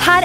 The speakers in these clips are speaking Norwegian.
her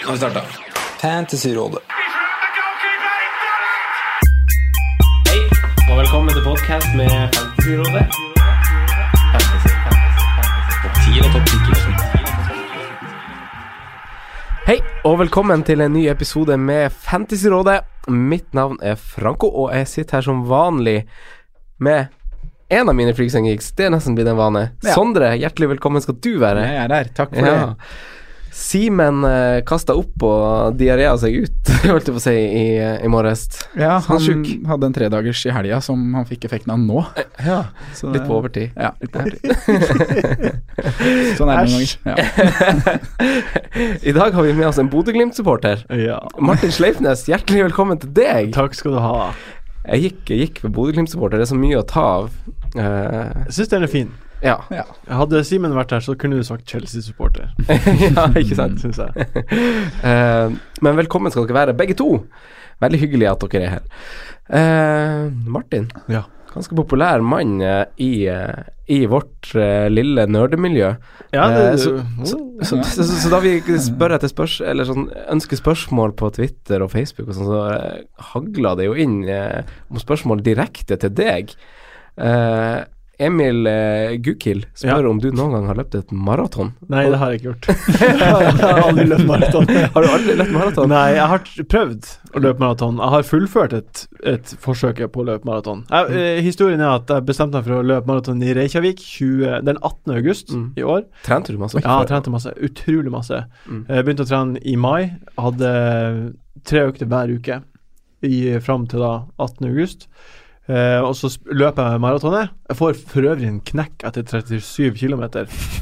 Nå har vi starta. Fantasyrådet. Hei, og velkommen til podcast med Fantasyrådet. Fantasy, fantasy, fantasy. Topp 10 og topp 10. Hei, og velkommen til en ny episode med Fantasyrådet. Mitt navn er Franco, og jeg sitter her som vanlig med en av mine freaks and geeks. Det er nesten blitt en vane. Sondre, hjertelig velkommen skal du være. Jeg er der, takk for Ja. Simen eh, kasta opp og diarea seg ut, holdt jeg på å si, i, eh, i morges. det. Ja, Han han er sjuk. hadde en tredagers i helga som han fikk effekten av nå. Ja, Så litt det- på overtid. Ja, Eh, litt på overtid. sånn er det noen ganger. I dag har vi med oss en Bodø-Glimt-supporter. Ja. Martin Sleipnes, hjertelig velkommen til deg. Takk skal du ha. Jeg gikk, jeg gikk for Bodø-Glimt-supporter, det er så mye å ta av. Eh, Jeg syns den er fin. ja. Ja. Hadde Simen vært her, så kunne du sagt Chelsea-supporter. ja, ikke sant? Synes jeg Eh, men velkommen skal dere være, begge to. Veldig hyggelig at dere er her. Eh, Martin, Ja. ganske populær mann eh, i, eh, i vårt eh, lille nerdemiljø. Ja, Eh, det, så, så, så, så, så, så da vi spør etter spørs, eller sånn, ønsker spørsmål på Twitter og Facebook, og sånn, så eh, hagla det jo inn eh, om spørsmål direkte til deg. Eh, Emil eh, Gukild spør Ja. om du noen gang har løpt et maraton. Nei, det har jeg ikke gjort. jeg har aldri løpt maraton. Har du aldri løpt maraton? Nei, jeg har t- prøvd å løpe maraton. Jeg har fullført et, et forsøk på å løpe maraton. Mm. Jeg, eh, historien er at jeg bestemte meg for å løpe maraton i Reykjavik 20, den 18. august Mm. i år. Trente du masse? Ja, jeg trente masse. Utrolig masse. Mm. Jeg begynte å trene i mai. Hadde eh, tre økter hver uke i, fram til da 18. august. Eh, og så sp- løper jeg maratonet. Jeg får for øvrig en knekk etter 37 km,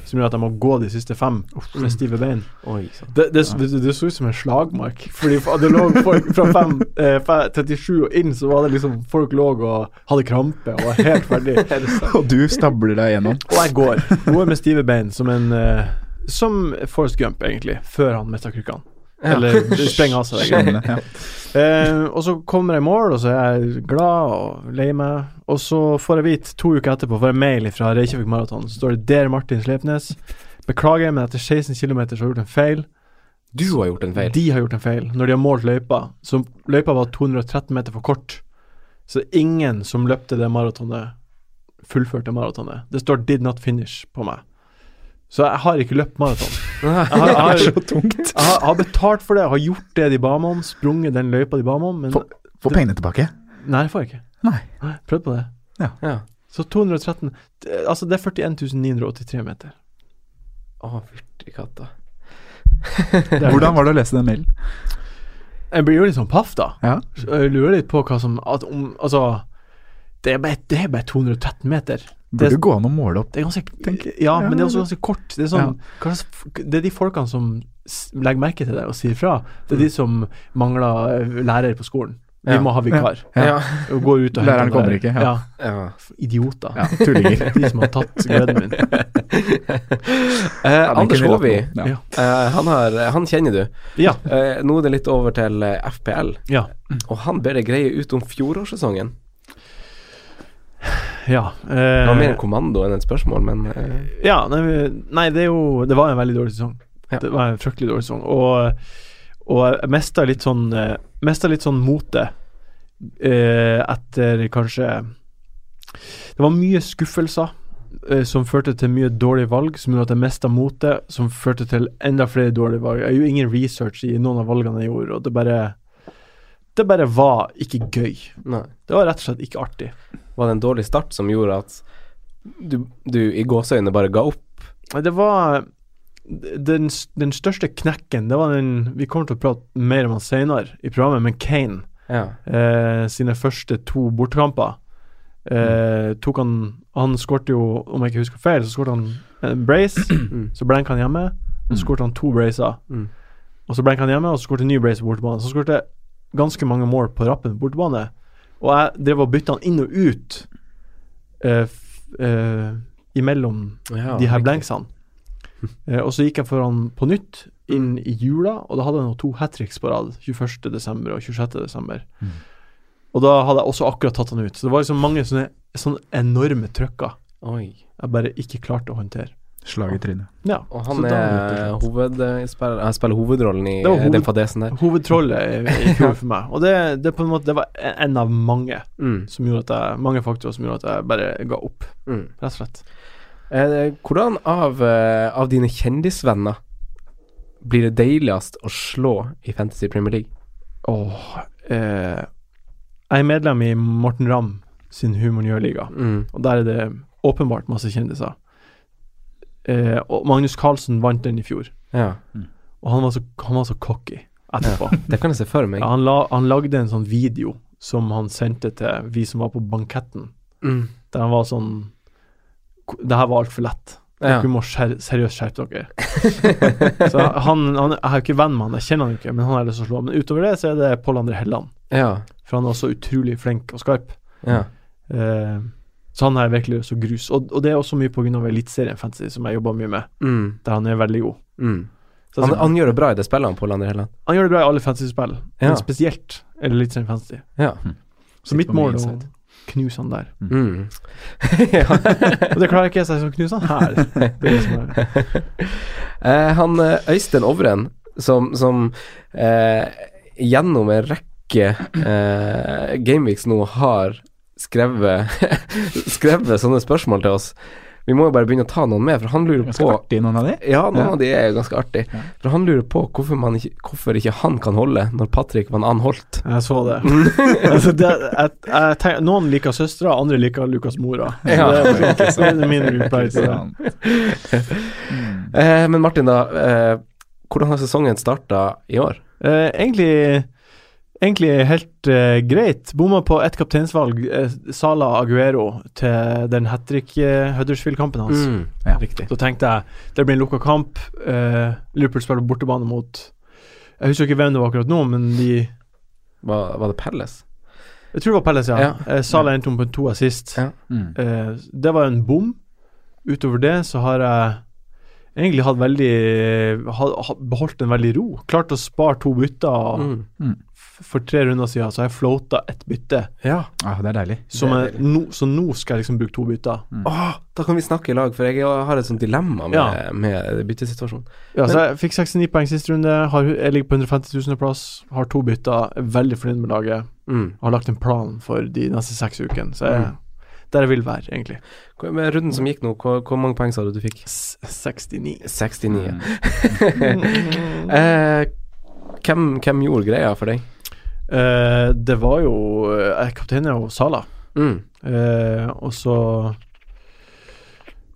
som gjør at jeg må gå de siste fem med stive bein. Oi, sant. Det, det, det, det så ut som en slagmark, fordi fa- det lå folk fra fem, eh, fe- 37 og inn, så var det liksom Folk lå og hadde krampe og var helt ferdig. Og du stabler deg gjennom. Og jeg går. Går med stive bein som en eh, Som Forrest Gump, egentlig, før han mista krykkene. Eller sprenger av seg. det greiene. Skjønner. Ja. Eh, og så kommer jeg i mål, og så er jeg glad og lei meg. Og så får jeg vite to uker etterpå får jeg mail fra Reykjavik Maraton. Så står det 'Der Martin Sleipnes'. Beklager, men etter 16 km så har jeg gjort en feil. Du har gjort en feil. De har gjort en feil når de har målt løypa. Så løypa var 213 meter for kort. Så ingen som løpte det maratonet, fullførte maratonet. Det står 'did not finish' på meg. Så jeg har ikke løpt maraton. Jeg har, jeg har, jeg tungt. har, har betalt for det, jeg har gjort det de ba meg om, sprunget den løypa de ba meg om, men Få- Få pengene tilbake. Nei, det får jeg ikke. Nei. Prøvd på det. Ja. Så 213 det- Altså, det er 41 983 meter. Å, fytti katta. Det er- Hvordan var det å lese den mailen? Jeg blir jo litt sånn paff, da. Ja. Så Jeg lurer litt på hva som at om, Altså, det er bare, det er bare 213 meter. Burde Det- det gå an å måle opp? Det er ganske Tenk- Ja, men det er ja, også ganske kort. Det er, sånn, hva slags f- det er de folkene som s- legger merke til det og sier fra. Det er de som mangler eh, lærer på skolen. Vi Ja. må ha vikar. Mm. Ja. Ja. Og går ut og Læreren henter en kommer lærer. ikke, ja. Ja. ja. f- Idioter. Ja, tullinger. De som har tatt gleden min. Eh, Anders kunne vi Håvi, latt den. Ja. eh, han, har, han kjenner du. Ja. Eh, nå er det litt over til eh, FPL, Ja. og han ber deg greie ut om fjorårssesongen. ja. Det var mer Eh, en kommando enn et spørsmål, men eh, ja nei, vi- nei, det er jo Det var en veldig dårlig sesong. Ja. Det var en fryktelig dårlig sesong. Og, og jeg mista litt sånn eh, Mesta litt sånn motet eh, etter kanskje Det var mye skuffelser eh, som førte til mye dårlige valg, som gjorde at jeg mista motet, som førte til enda flere dårlige valg. Jeg gjorde ingen research i noen av valgene jeg gjorde, og det bare Det bare var ikke gøy. Nei. Det var rett og slett ikke artig. Var det en dårlig start som gjorde at du, du i gåseøynene bare ga opp? Nei, Det var den, den største knekken Det var den Vi kommer til å prate mer om han senere i programmet, men Kane Ja. eh, sine første to bortekamper eh, tok han Han skårte jo, om jeg ikke husker feil, så skårte han en brace, så blank han hjemme. Og så skårte han to bracer. Mm. Og så blank han hjemme, og så skårte han en ny brace på bortebane. Så skårte ganske mange mål på rappen på bortebane. Og jeg drev og bytta han inn og ut eh, f, eh, imellom de her blanksene. Eh, og så gikk jeg for han på nytt inn Mm. i jula, og da hadde jeg nå to hat tricks på rad. 21. desember og 26. desember. Mm. Og da hadde jeg også akkurat tatt han ut. Så det var liksom mange sånne, sånne enorme trøkker Oi. jeg bare ikke klarte å håndtere. Slag i trynet. Ja, Og han så da- er hoved, eh, spiller, han spiller hovedrollen i eh, Det var hoved- den fadesen der. Hovedtrollet i i fjor for meg. Og det, det på en måte Det var en av mange Mm. som gjorde at jeg Mange faktorer som gjorde at jeg bare ga opp, Mm. rett og slett. Eh, hvordan av, eh, av dine kjendisvenner blir det deiligst å slå i Fantasy Premier League? Åh eh, Jeg er medlem i Morten Ramm sin Humornjørliga. Mm. Og der er det åpenbart masse kjendiser. Eh, og Magnus Carlsen vant den i fjor, Ja, og han var så, han var så cocky etterpå. det kan jeg se for meg. Ja, han, la, han lagde en sånn video som han sendte til vi som var på banketten, Mm. der han var sånn "Ko- Det her var altfor lett. Ja. Dere må skjer, seriøst skjerpe dere. så han, han, jeg er jo ikke venn med han, jeg kjenner han jo ikke, men han har jeg lyst til å slå. Men utover det så er det Pål André Helland, Ja, for han er også utrolig flink og skarp. ja. Eh, så han er virkelig så grus. Og, og det er også mye pga. Eliteserien Fantasy, som jeg jobber mye med, Mm. der han er veldig god. Mm. Så Han, altså, han, han gjør det bra i det spillet, han Pål André Helland. gjør det bra i alle fantasy-spill, Ja. men spesielt Eliteserien Fantasy. Ja. Så mitt på mye mål er å insight. knuse han der. Mm. ja. Og det klarer ikke jeg, så jeg skal knuse han her. Det er det som er. Eh, han eh, Øystein Ovren, som, som eh, gjennom en rekke eh, Gameweeks nå har skrevet, skrevet sånne spørsmål til oss. Vi må jo bare begynne å ta noen med, for han lurer Ganske på artig, noen av de. Ja, noen Ja. av de er jo ganske artig. For han lurer på hvorfor, man ikke, hvorfor ikke han kan holde når Patrick van Ann holdt. Jeg så det. altså, det jeg, jeg tenker, noen liker søstera, andre liker Lukas mora. Ja. Det er det er min reply til det. Sånn. Eh, men Martin, da. Eh, hvordan har sesongen starta i år? Eh, egentlig, egentlig helt eh, greit. Bomma på ett kapteinsvalg, eh, Sala Aguero, til den hat trick-Huddersfield-kampen hans. Altså, Mm. Ja. Så tenkte jeg det blir en lukka kamp. Eh, Liverpool spiller på bortebane mot Jeg husker ikke hvem det var akkurat nå, men de Var, var det Pelles? Jeg tror det var Pelles, ja. Ja. Eh, Sala endte om på en to assist. Ja. Mm. Eh, det var en bom. Utover det så har jeg egentlig hatt veldig eh, ha, ha, beholdt en veldig ro. Klart å spare to bytter. og Mm. f- for tre runder siden så har jeg floata ett bytte. Ah, det er deilig. Som er no, så nå skal jeg liksom bruke to bytter. Mm. Åh, da kan vi snakke i lag, for jeg har et sånt dilemma med, Ja. med byttesituasjonen. Ja, så jeg fikk 69 poeng sist runde. Har, jeg ligger på 150 000.-plass. Har to bytter. Er veldig fornøyd med laget. Mm. Har lagt en plan for de neste seks ukene. Så jeg, der jeg vil være, egentlig. Hvor- Med runden som gikk nå, hvor, hvor mange poeng sa du du fikk? S 69. 69. Mm. eh, hvem, hvem gjorde greia for deg? Eh, det var jo eh, Kapteinen er jo Sala. Mm. Eh, og så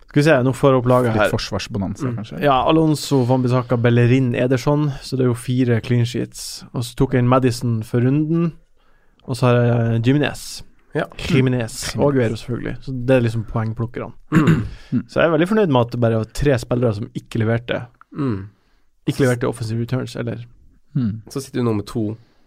Skal vi se, nå får jeg opp laget her. Litt forsvarsbonanza, kanskje. Ja, Alonso, Van Bissaka, Bellerin, Ederson. Så det er jo fire clean sheets. Og så tok jeg inn Madison for runden. Og så har jeg Jiminez. Ja. Jiminez og Aguero, selvfølgelig. Så det er liksom poengplukkerne. så jeg er veldig fornøyd med at det bare var tre spillere som ikke leverte. Mm. Ikke leverte offensive returns, eller Mm. Så sitter du nå med to,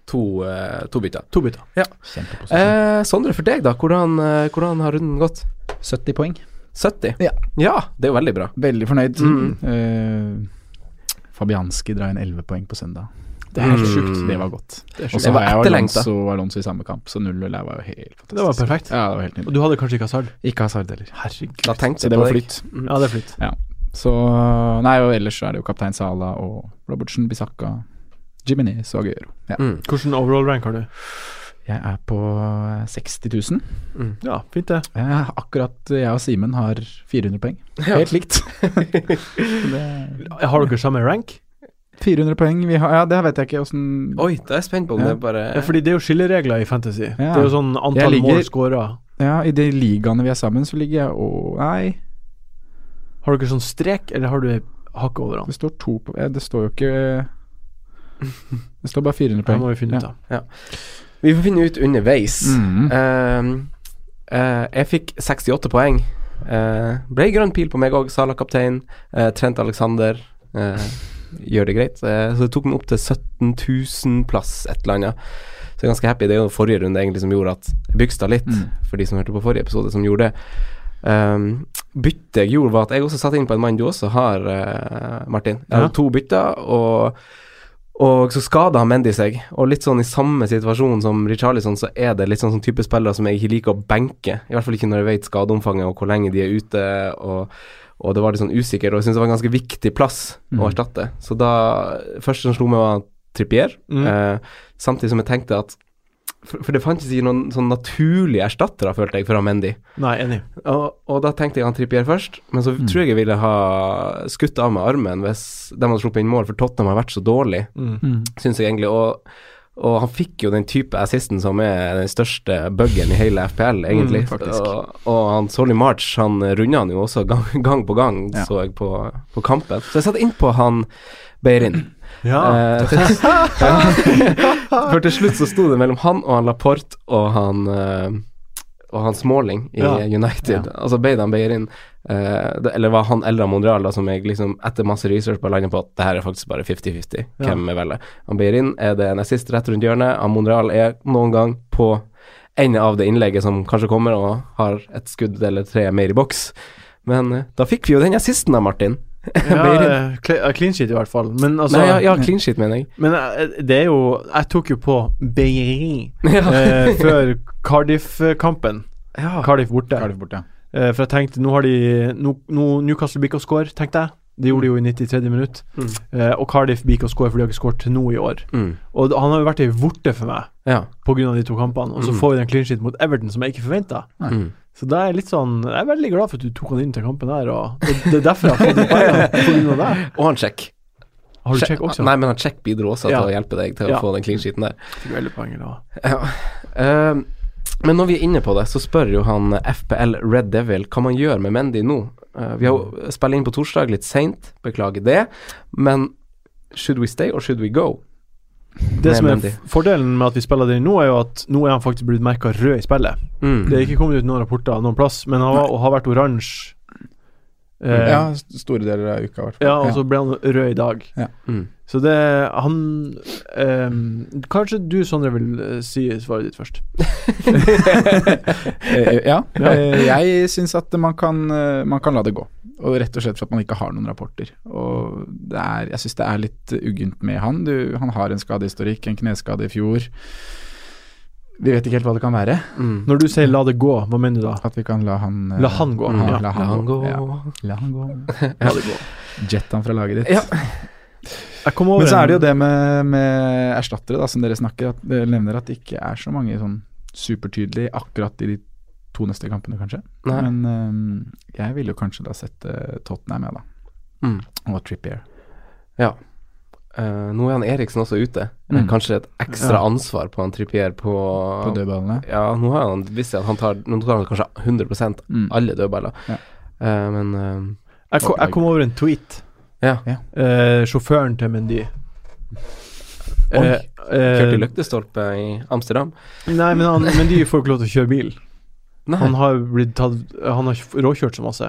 to, eh, to bytter. to bytter. Kjempeposisjon. Eh, Sondre, for deg, da. Hvordan, eh, hvordan har runden gått? 70 poeng. 70? Ja. det er jo veldig bra. Veldig fornøyd. Mm. Eh, Fabianski drar inn 11 poeng på søndag. Det er helt Mm. sjukt. Det var godt. Det, Og så var har jeg jo etterlengta. Alonso, Alonso i samme kamp, så 0-0 her var jo helt fantastisk. Det var perfekt. Ja, det var helt Og nydelig. du hadde kanskje ikke hasard? Ikke hasard heller. Herregud. Da tenkte Så jeg det på var deg. flyt. Ja, det er flytt. Så Nei, og ellers så er det jo kaptein Sala og Robertsen, Bisakka, Jiminez og Aguero. Ja. Mm. Hvordan overall rank har du? Jeg er på eh, 60 000. Ja, fint det. Jeg er Eh, akkurat jeg og Simen har 400 poeng. Helt likt. Har dere samme rank? 400 poeng vi har, Ja, det vet jeg ikke åssen Oi, da er jeg spent på om Ja. det bare Ja, fordi det er jo skilleregler i fantasy. Ja. Det er jo sånn antall Jeg ligger- mål scora. Ja, i de ligaene vi er sammen, så ligger jeg og Nei, Har dere sånn strek, eller har du hakket over den? det står to på eh, Det står jo ikke eh, Det står bare 400 Det poeng. må vi finne ut ja. av. Vi får finne ut underveis. Mhm. Ehm, eh, jeg fikk 68 poeng. Eh, ble grønn pil på meg òg, Sala kaptein. Eh, Trent Alexander eh, gjør det greit. Eh, så det tok meg opp til 17 000 plass, et eller annet. Så jeg er ganske happy. Det er jo forrige runde egentlig som gjorde at jeg bygsta litt, for de som hørte på forrige episode, som gjorde det. Um, byttet jeg gjorde, var at jeg også satte inn på en mann du også har, eh, Martin. Jeg hadde Ja. to bytter, og og så skada han Mendy seg, og litt sånn i samme situasjon som Richarlison, så er det litt sånn, sånn type spillere som jeg ikke liker å benke. I hvert fall ikke når jeg vet skadeomfanget og hvor lenge de er ute, og, og det var litt sånn usikker, og jeg syns det var en ganske viktig plass å erstatte. Så da Første som slo meg, var Trippier, eh, samtidig som jeg tenkte at For, for det fantes ikke noen sånn naturlige erstattere, følte jeg, fra Mendy. Nei, enig. Og, og da tenkte jeg han Trippier først, men så tror jeg jeg ville ha skutt av med armen hvis de hadde sluppet inn mål, for Tottenham har vært så dårlig, syns jeg egentlig. Og, og han fikk jo den type assisten som er den største buggen i hele FPL, egentlig. og, og han Solly March, han runda han jo også gang, gang på gang, så jeg på, på kampen. Så jeg satte innpå han Beirin. Ja. Eh, For til slutt så sto det mellom han og han Laporte og han eh, og han Smalling i Ja. United. Altså Beidan Beirin eh, det- Eller var han eller Mondial, da, som jeg liksom etter masse research bare landet på at det her er faktisk bare 50-50. Hvem jeg velger. Han Beirin er det nazist rett rundt hjørnet. Han Mondial er noen gang på enden av det innlegget som kanskje kommer, og har et skudd eller tre mer i boks. Men eh, da fikk vi jo den assisten da, Martin. Ja, Beirin. eh, cl- eh, clean sheet i hvert fall. Men altså Nei, ja, ja, clean sheet, mener jeg. Men eh, det er jo Jeg tok jo på Beirin Ja. eh, før Cardiff-kampen. Cardiff borte. Cardiff borte. Eh, for jeg tenkte Nå har de Nå, nå Newcastle blir ikke å score, tenkte jeg. Det gjorde de jo i 93. minutt. Eh, og Cardiff blir ikke å score, for de har ikke skåret til nå i år. Mm. Og d- han har jo vært i vorte for meg Ja. pga. de to kampene. Og så får vi den clean sheet mot Everton som jeg ikke forventa. Mm. Så da er jeg litt sånn Jeg er veldig glad for at du tok han inn til kampen der, og det, det er derfor jeg har fått de poengene. på grunn av deg. Og han Check. Har du Check- sjekk også? Nei, men han Check bidro også Ja. til å hjelpe deg til Ja. å få den clean sheeten der. Fikk veldig poeng i dag. Ja. Eh, men når vi er inne på det, så spør jo han FPL Red Devil hva man gjør med Mendy nå. Eh, vi har jo spiller inn på torsdag litt seint, beklager det, men should we stay or should we go? Det Med som er Mendy. f- fordelen med at vi spiller det nå, er jo at nå er han faktisk blitt merka rød i spillet. Mm. Det er ikke kommet ut noen rapporter noen plass, men han var, og har vært oransje. Mm. Eh, ja, Ja, st- store deler av uka, i hvert fall. og så ble han rød i dag. Ja. Mm. Så det Han ehm, Kanskje du, Sondre, vil eh, si svaret ditt først. Eh, ja. Ja. Eh, Jeg syns at man kan, eh, man kan la det gå. Og rett og slett for at man ikke har noen rapporter. Og det er, jeg syns det er litt uggent med han. Du, han har en skadehistorikk, en kneskade i fjor. Vi vet ikke helt hva det kan være. Mm. Når du sier 'la det gå', hva mener du da? At vi kan la han eh, La han gå. Mm. Ja, Ja. la La han han gå. gå. Ja. La han gå. Jet han fra laget ditt. Ja. Jeg kom over Men så er det en- jo det med, med erstattere, da, som dere snakker at, dere nevner, at det ikke er så mange sånn supertydelige akkurat i de to neste kampene, kanskje. Nei. Men øhm, jeg ville jo kanskje da sett eh, Tottenham, jeg, da. Mm. Og Trippier. Eh, nå er han Eriksen også ute. Eh, Mm. Kanskje et ekstra ansvar på han Trippier på, På dødballene. Ja, nå har han visst at han tar, nå tar han kanskje 100 Mm. alle dødballer, Ja. Eh, men eh, jeg, kom, jeg kom over en tweet. Ja. Ja. Eh, sjåføren til Mendy. Oi. Eh, eh, kjørte i lyktestolpe i Amsterdam. Nei, men han, Mendy får jo ikke lov til å kjøre bil. Nei. Han har blitt tatt Han har ikke råkjørt så masse.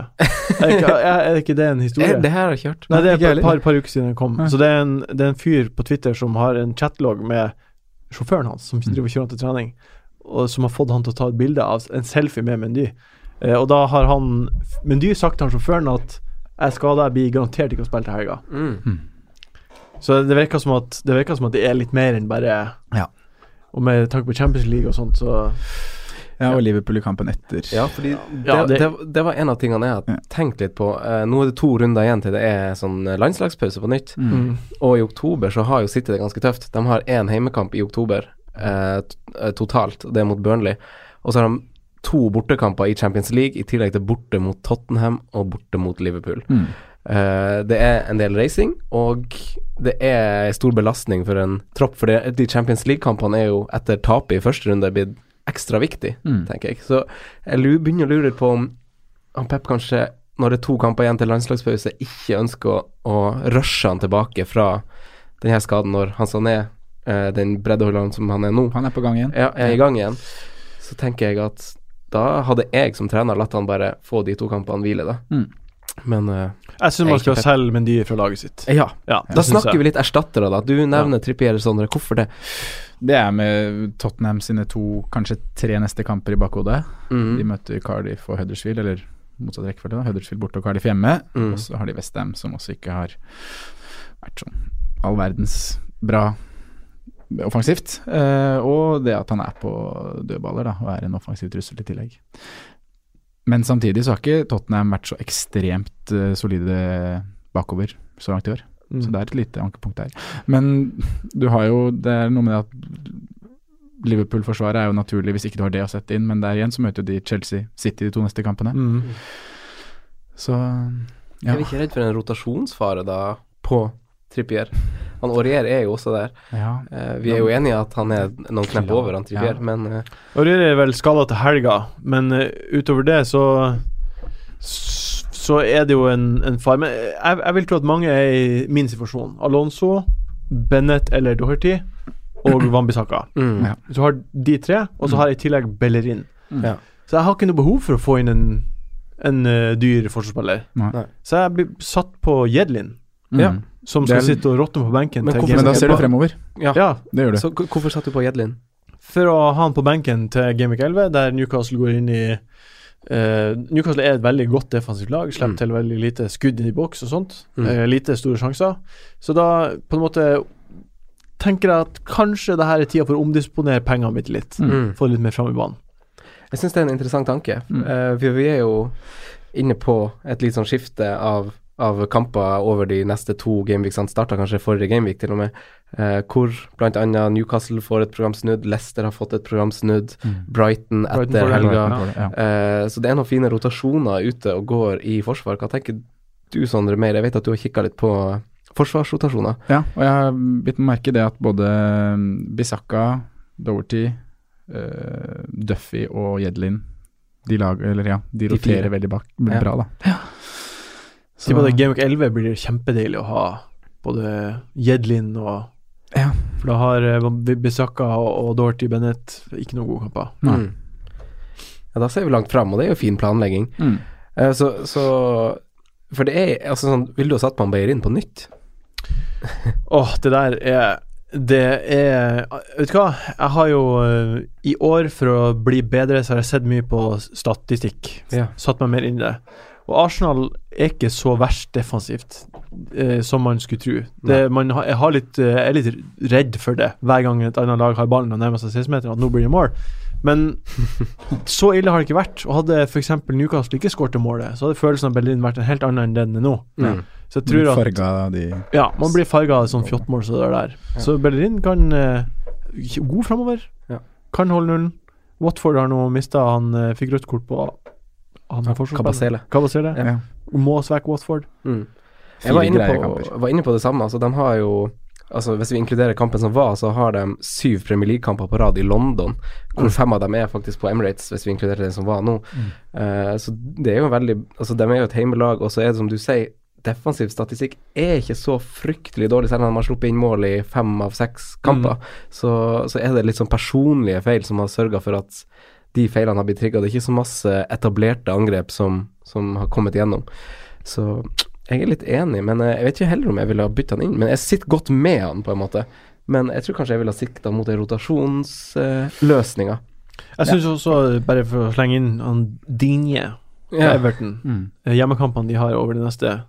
Er ikke, er, er ikke det en historie? Eh, Det her har jeg ikke hørt. Nei, det ikke er heller. et par, par uker siden den kom. Ja. Så det er, en, det er en fyr på Twitter som har en chatlog med sjåføren hans, som driver og kjører han til trening, og som har fått han til å ta et bilde av en selfie med Mendy. Eh, og da har han Mendy sagt til han sjåføren at 'jeg er skada, jeg blir garantert ikke å spille til helga'. Mm. Så det virker som at det, virker som at det er litt mer enn bare Ja. Og med tanke på Champions League og sånt, så Ja, og Liverpool i kampen etter. Ja, fordi Ja, det, det- det, det var en av tingene jeg Ja. har tenkt litt på. Eh, nå er det to runder igjen til det er sånn eh, landslagspause på nytt. Og i oktober så har jo City det ganske tøft. De har én heimekamp i oktober eh, t- eh, totalt, og det er mot Burnley. Og så har de to bortekamper i Champions League, i tillegg til borte mot Tottenham og borte mot Liverpool. Eh, det er en del racing, og det er en stor belastning for en tropp. For det, de Champions League-kampene er jo etter tapet i første runde blitt ekstra viktig, tenker jeg. Så jeg lu- begynner å lure på om han Pep kanskje, når det er to kamper igjen til landslagspause, ikke ønsker å, å rushe han tilbake fra denne skaden når han sånn er, eh, den breddeholderen som han er nå, Han er på gang igjen. ja, er i gang igjen. Så tenker jeg at da hadde jeg som trener latt han bare få de to kampene hvile, da. Mm. Men eh, Jeg syns man skal Egentlig. selge Mendy fra laget Eh, sitt. ja. Ja, Da snakker vi litt erstattere, da. Du nevner Trippier og Sondre. Hvorfor det? Det er med Tottenham sine to, kanskje tre neste kamper i bakhodet. Mm. De møter Cardiff og Huddersfield, eller motsatt rekkefølge. da. Huddersfield borte og Cardiff hjemme. Mm. Og så har de Westham, som også ikke har vært sånn all verdens bra offensivt. Eh, og det at han er på dødballer, da, og er en offensiv trussel i tillegg. Men samtidig så har ikke Tottenham vært så ekstremt eh, solide bakover så langt i år. Mm. Så det er et lite ankepunkt der. Men du har jo Det er noe med det at Liverpool-forsvaret er jo naturlig hvis ikke du har det å sette inn, men der igjen så møter jo de Chelsea City de to neste kampene. Mm. Så ja. Er vi ikke redd for en rotasjonsfare, da, på Trippier? Han Aurier er jo også der. ja. Eh, vi er jo enige i at han er noen knepp over han Trippier, Ja. men eh, Aurier er vel skada til helga, men eh, utover det så s- Så er det jo en, en far. Men eh, jeg, jeg vil tro at mange er i min situasjon. Alonso, Bennett eller Doherty og Wambisaka. mm. Ja. Så har de tre, og så har jeg i tillegg Bellerin. Mm. Ja. Så jeg har ikke noe behov for å få inn en, en eh, dyr forsvarsspiller. Nei. Nei. Så jeg blir satt på Jedlin, Mm. Ja. som Det skal er- sitte og råtne på benken. Men til hvorfor- Game Men da Week ser du 11. fremover. Ja, Det gjør du. Så k- hvorfor satt du på Jedlin? for å ha han på benken til Gameweek 11, der Newcastle går inn i eh, Newcastle er et veldig godt defensivt lag, slipper Mm. til veldig lite skudd i boks og sånt. Mm. eh, lite store sjanser. Så da på en måte tenker jeg at kanskje det her er tida for å omdisponere pengene mine litt. Mm. Få det litt mer fram i banen. Jeg syns det er en interessant tanke. Mm. Eh, for vi er jo inne på et litt sånn skifte av, av kamper over de neste to gameweeksene. Starta kanskje forrige gameweek til og med, eh, hvor bl.a. Newcastle får et program snudd, Leicester har fått et program snudd, Brighton etter Brighton får det, helga. Mm. Brighton får det, ja. Eh, så det er noen fine rotasjoner ute og går i forsvar. Hva tenker du, Sondre Meyer? Jeg vet at du har kikka litt på forsvarsrotasjoner. Ja, og jeg har bitt meg merke i det at både Bisakka, Doherty, eh, Duffy og Jedlin De, lag, eller ja, de De fire. roterer veldig bak, Ja. bra, da. Så, Tipper at Gameweek 11 blir det kjempedeilig å ha både Jedlin og Ja. For da har eh, Bissaka og Dorothy Bennett ikke noen gode kamper. Nei. Mm. Ja, da ser vi langt fram, og det er jo fin planlegging. Mm. Eh, så, så For det er altså sånn Ville du ha satt på han Beirin på nytt? Åh, det der er Det er Vet du hva? Jeg har jo eh, I år, for å bli bedre, så har jeg sett mye på statistikk. Ja. Satt meg mer inn i det. Og Arsenal er ikke så verst defensivt eh, som man skulle tro. Det, man har, jeg, har litt, eh, jeg er litt redd for det hver gang et annet lag har ballen og nærmer seg 16-meteren, at nå blir det mål. Men så ille har det ikke vært. Og Hadde f.eks. Newcastle ikke skåret det målet, så hadde følelsen av Berlin vært en helt annen enn den er nå. Mm. Så jeg tror at Farga de ja, man blir farga av sånn fjottmål som det der. Så Bellerin kan eh, God framover. Ja. Kan holde nullen. Watford har nå mista Han eh, fikk rødt kort på han er fortsatt- Kabasele. Kabasele. ja. Må svekke Watford. Mm. Jeg Fire var inne, greie på, kamper. var inne på det samme. Altså, de har jo Altså, Hvis vi inkluderer kampen som var, så har de syv Premier League-kamper på rad i London, Mm. hvor fem av dem er faktisk på Emirates, hvis vi inkluderer den som var nå. Mm. Eh, så det er jo veldig Altså, de er jo et heimelag, og så er det som du sier, defensiv statistikk er ikke så fryktelig dårlig, selv om de har sluppet inn mål i fem av seks Mm. kamper. Så, så er det litt sånn personlige feil som har sørga for at de feilene har blitt trigga. Det er ikke så masse etablerte angrep som, som har kommet gjennom. Så jeg er litt enig, men eh, jeg vet ikke heller om jeg ville ha bytta han inn. Men jeg sitter godt med han, på en måte. Men jeg tror kanskje jeg ville ha sikta mot en rotasjonsløsning. Jeg syns også, eh, bare for å slenge inn han Dinje fra Ja. Everton Mm. Eh, Hjemmekampene de har over de neste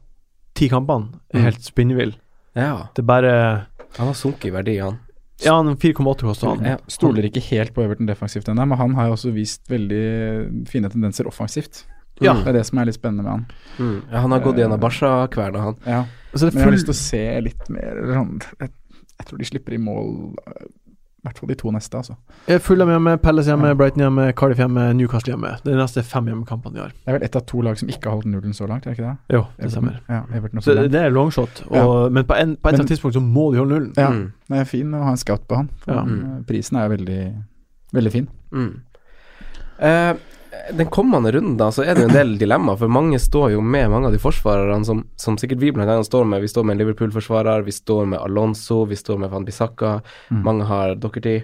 ti kampene, Mm. er helt spinnvill. ja. Det er bare Han har sunket i verdi, han. Ja, han 4,8 koster han. Ja. Stoler ikke helt på Everton defensivt ennå, men han har jo også vist veldig fine tendenser offensivt. Ja. Det er det som er litt spennende med han. Mm. ja han har gått gjennom Barca-kverna, han. Ja. Så det Men jeg er har lyst full til å se litt mer sånn jeg, jeg tror de slipper i mål eh, I hvert fall de to neste, altså. Fulham hjemme, Palace hjemme, Brighton hjemme, Cardiff hjemme, Newcastle hjemme. Det er de neste fem hjemmekampene de har. Det er vel ett av to lag som ikke har holdt nullen så langt, er det ikke det? Jo, det Everton. stemmer. Ja, Everton og Så Fulham. det er longshot, og, men på en- på et eller Men- annet tidspunkt så må de holde nullen. Ja, Mm. det er fin å ha en scout på han. For Ja. han, eh, Prisen er jo veldig, veldig fin. Mm. Eh, den kommende runden da, så er det jo en del dilemmaer, for mange står jo med mange av de forsvarerne som, som sikkert vi blant annet står med. Vi står med en Liverpool-forsvarer, vi står med Alonso, vi står med Van Bissaka, mange har Doherty.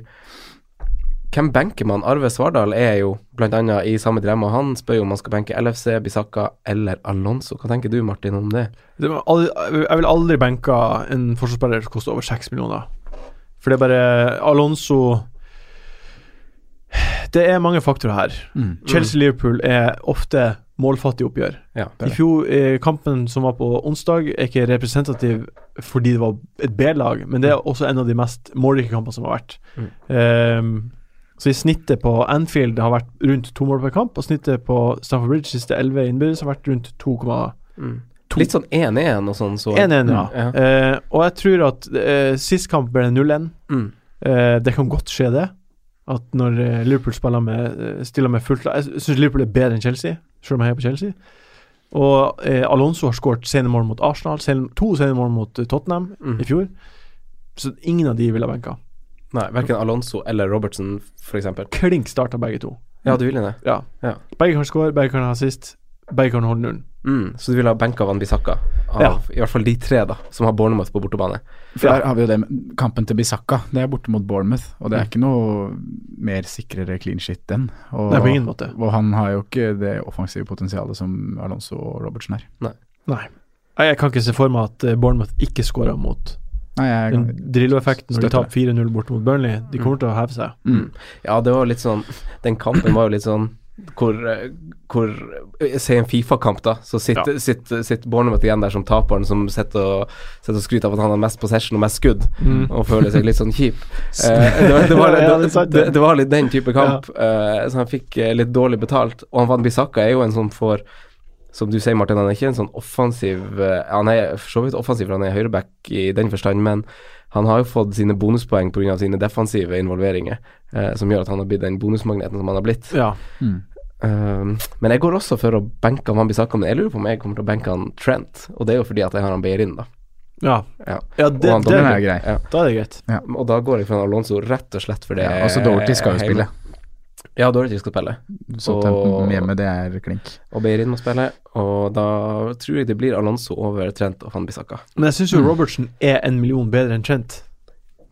Hvem benker man? Arve Svardal er jo blant annet i samme dilemma. Han spør jo om man skal benke LFC, Bissaka eller Alonso. Hva tenker du, Martin, om det? Det var aldri, jeg vil aldri benke en forsvarsspiller som koster over 6 millioner. For det er bare Alonso Det er mange faktorer her. Chelsea-Liverpool er ofte målfattige oppgjør. Ja, I fjor, eh, Kampen som var på onsdag, er ikke representativ fordi det var et B-lag, men det er også en av de mest målrike kampene som har vært. Ehm, så i snittet på Anfield har vært rundt to mål per kamp, og snittet på Stamford Bridge siste 11 innbyrdes har vært rundt 2,1. Litt sånn 1-1 og sånn. Så. 1-1, ja. Ja. Eh, og jeg tror at eh, sist kamp ble det 0-1. Mm. Eh, det kan godt skje, det. At når eh, Liverpool spiller med, eh, stiller med fullt lag Jeg syns Liverpool er bedre enn Chelsea, selv om jeg heier på Chelsea. Og eh, Alonso har skåret sene mål mot Arsenal, sen, to sene mål mot eh, Tottenham Mm. i fjor. Så ingen av de ville ha benka. Nei, verken Alonso eller Robertson, f.eks. Klink starta begge to. Ja, du ville det? Ja. Ja. Begge kan skåre, begge kan ha assist, begge kan holde nullen. Mm, så du vil ha benka Van Bissaka? Av, Ja. I hvert fall de tre da som har Bournemouth på bortebane. For Ja. der har vi jo det med kampen til Bisakka. Det er borte mot Bournemouth, og det er ikke noe mer sikrere clean shit enn. Og, Nei, på ingen måte. og han har jo ikke det offensive potensialet som Alonso og Robertsen er. Nei. Jeg jeg kan ikke se for meg at eh, Bournemouth ikke skårer mot Nei, jeg, Den Drillo-effekten når de Støtter taper 4-0 bort mot Burnley, de kommer til å heve seg. Mm. Ja, det var litt sånn Den kampen var jo litt sånn hvor, eh, hvor eh, Se en Fifa-kamp, da. Så sitter Ja. sitt, sitt Bournemouth igjen der som taperen som sitter og, sitter og skryter av at han har mest possession og mest skudd, og føler seg litt sånn kjip. Eh, det, var, det, var, Mm. Ja, det, det er sant, det, det. det var litt den type kamp, eh, så han fikk eh, litt dårlig betalt. Og han Van Bissaka er jo en som får som du sier, Martin, han er ikke en sånn offensiv eh, Han er for så vidt offensiv, for han er høyreback i den forstand, men han har jo fått sine bonuspoeng pga. sine defensive involveringer, eh, som gjør at han har blitt den bonusmagneten som han har blitt. Ja. Um, men jeg går også for å benke han Bissaka, men jeg lurer på om jeg kommer til å benke han Trent, og det er jo fordi at jeg har han Beirin, da. Ja, Ja. ja det, Og han det, den er Doherty. grei. Ja. da er det greit. Og da går jeg for han Alonso rett og slett fordi Ja, altså Doherty skal jo spille. Ja, Doherty skal spille. Så Og- tempen hjemme, det er klink. Og Beirin må spille, og da tror jeg det blir Alonso over Trent og Van Bissaka. Men jeg Mm. syns jo Robertsen er en million bedre enn Trent.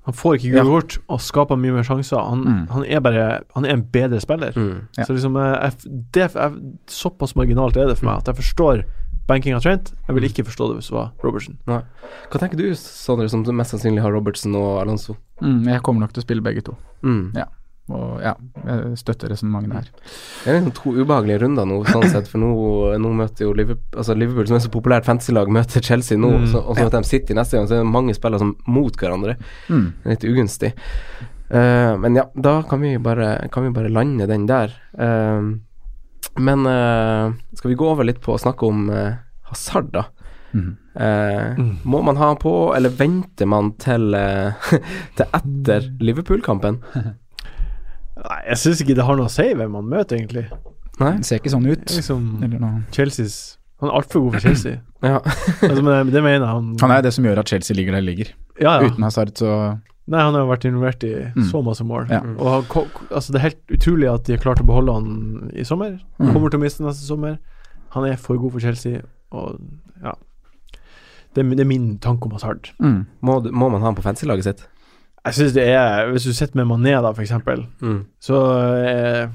Han får ikke Ja. gule kort og skaper mye mer sjanser. Han, Mm. han er bare Han er en bedre spiller. Ja. Så liksom jeg, jeg, det, jeg, Såpass marginalt er Mm. det for meg at jeg forstår banking av Trent. Jeg vil ikke forstå det hvis det var Robertsen. Nei. Hva tenker du, Sondre, som mest sannsynlig har Robertsen og Alonso? Mm, jeg kommer nok til å spille begge to. Mm. Ja. Og ja, jeg støtter resonnementet her. Det er liksom to ubehagelige runder nå, sånn sett, for nå, nå møter jo Liverpool, altså Liverpool, som er så populært fantasy-lag, møter Chelsea nå, Mm. så, og så møter de City neste gang, så er det mange spillere som mot hverandre. Det er Litt ugunstig. Eh, men ja, da kan vi bare, kan vi bare lande den der. Eh, men eh, skal vi gå over litt på å snakke om uh, Hazard, da? Eh, Må man ha han på, eller venter man til, eh, til etter Liverpool-kampen? Nei, jeg syns ikke det har noe å si hvem han møter, egentlig. Nei? Det ser ikke sånn ut. Det er Liksom Eller noe. Chelseas Han er altfor god for Chelsea. Ja. altså, men det, det mener jeg. Han, Han er jo det som gjør at Chelsea ligger der de ligger. ja, ja. Uten Hazard så Nei, han har jo vært involvert i Mm. så masse mål. Ja. Og han, ko- ko- altså, det er helt utrolig at de har klart å beholde han i sommer. Mm. Kommer til å miste neste sommer. Han er for god for Chelsea, og ja Det, er mi- det er min tanke om Hazard. mm. Må, du- må man ha han på fancy-laget sitt? Jeg synes det er Hvis du sitter med Mané, da, for eksempel, Mm. så eh,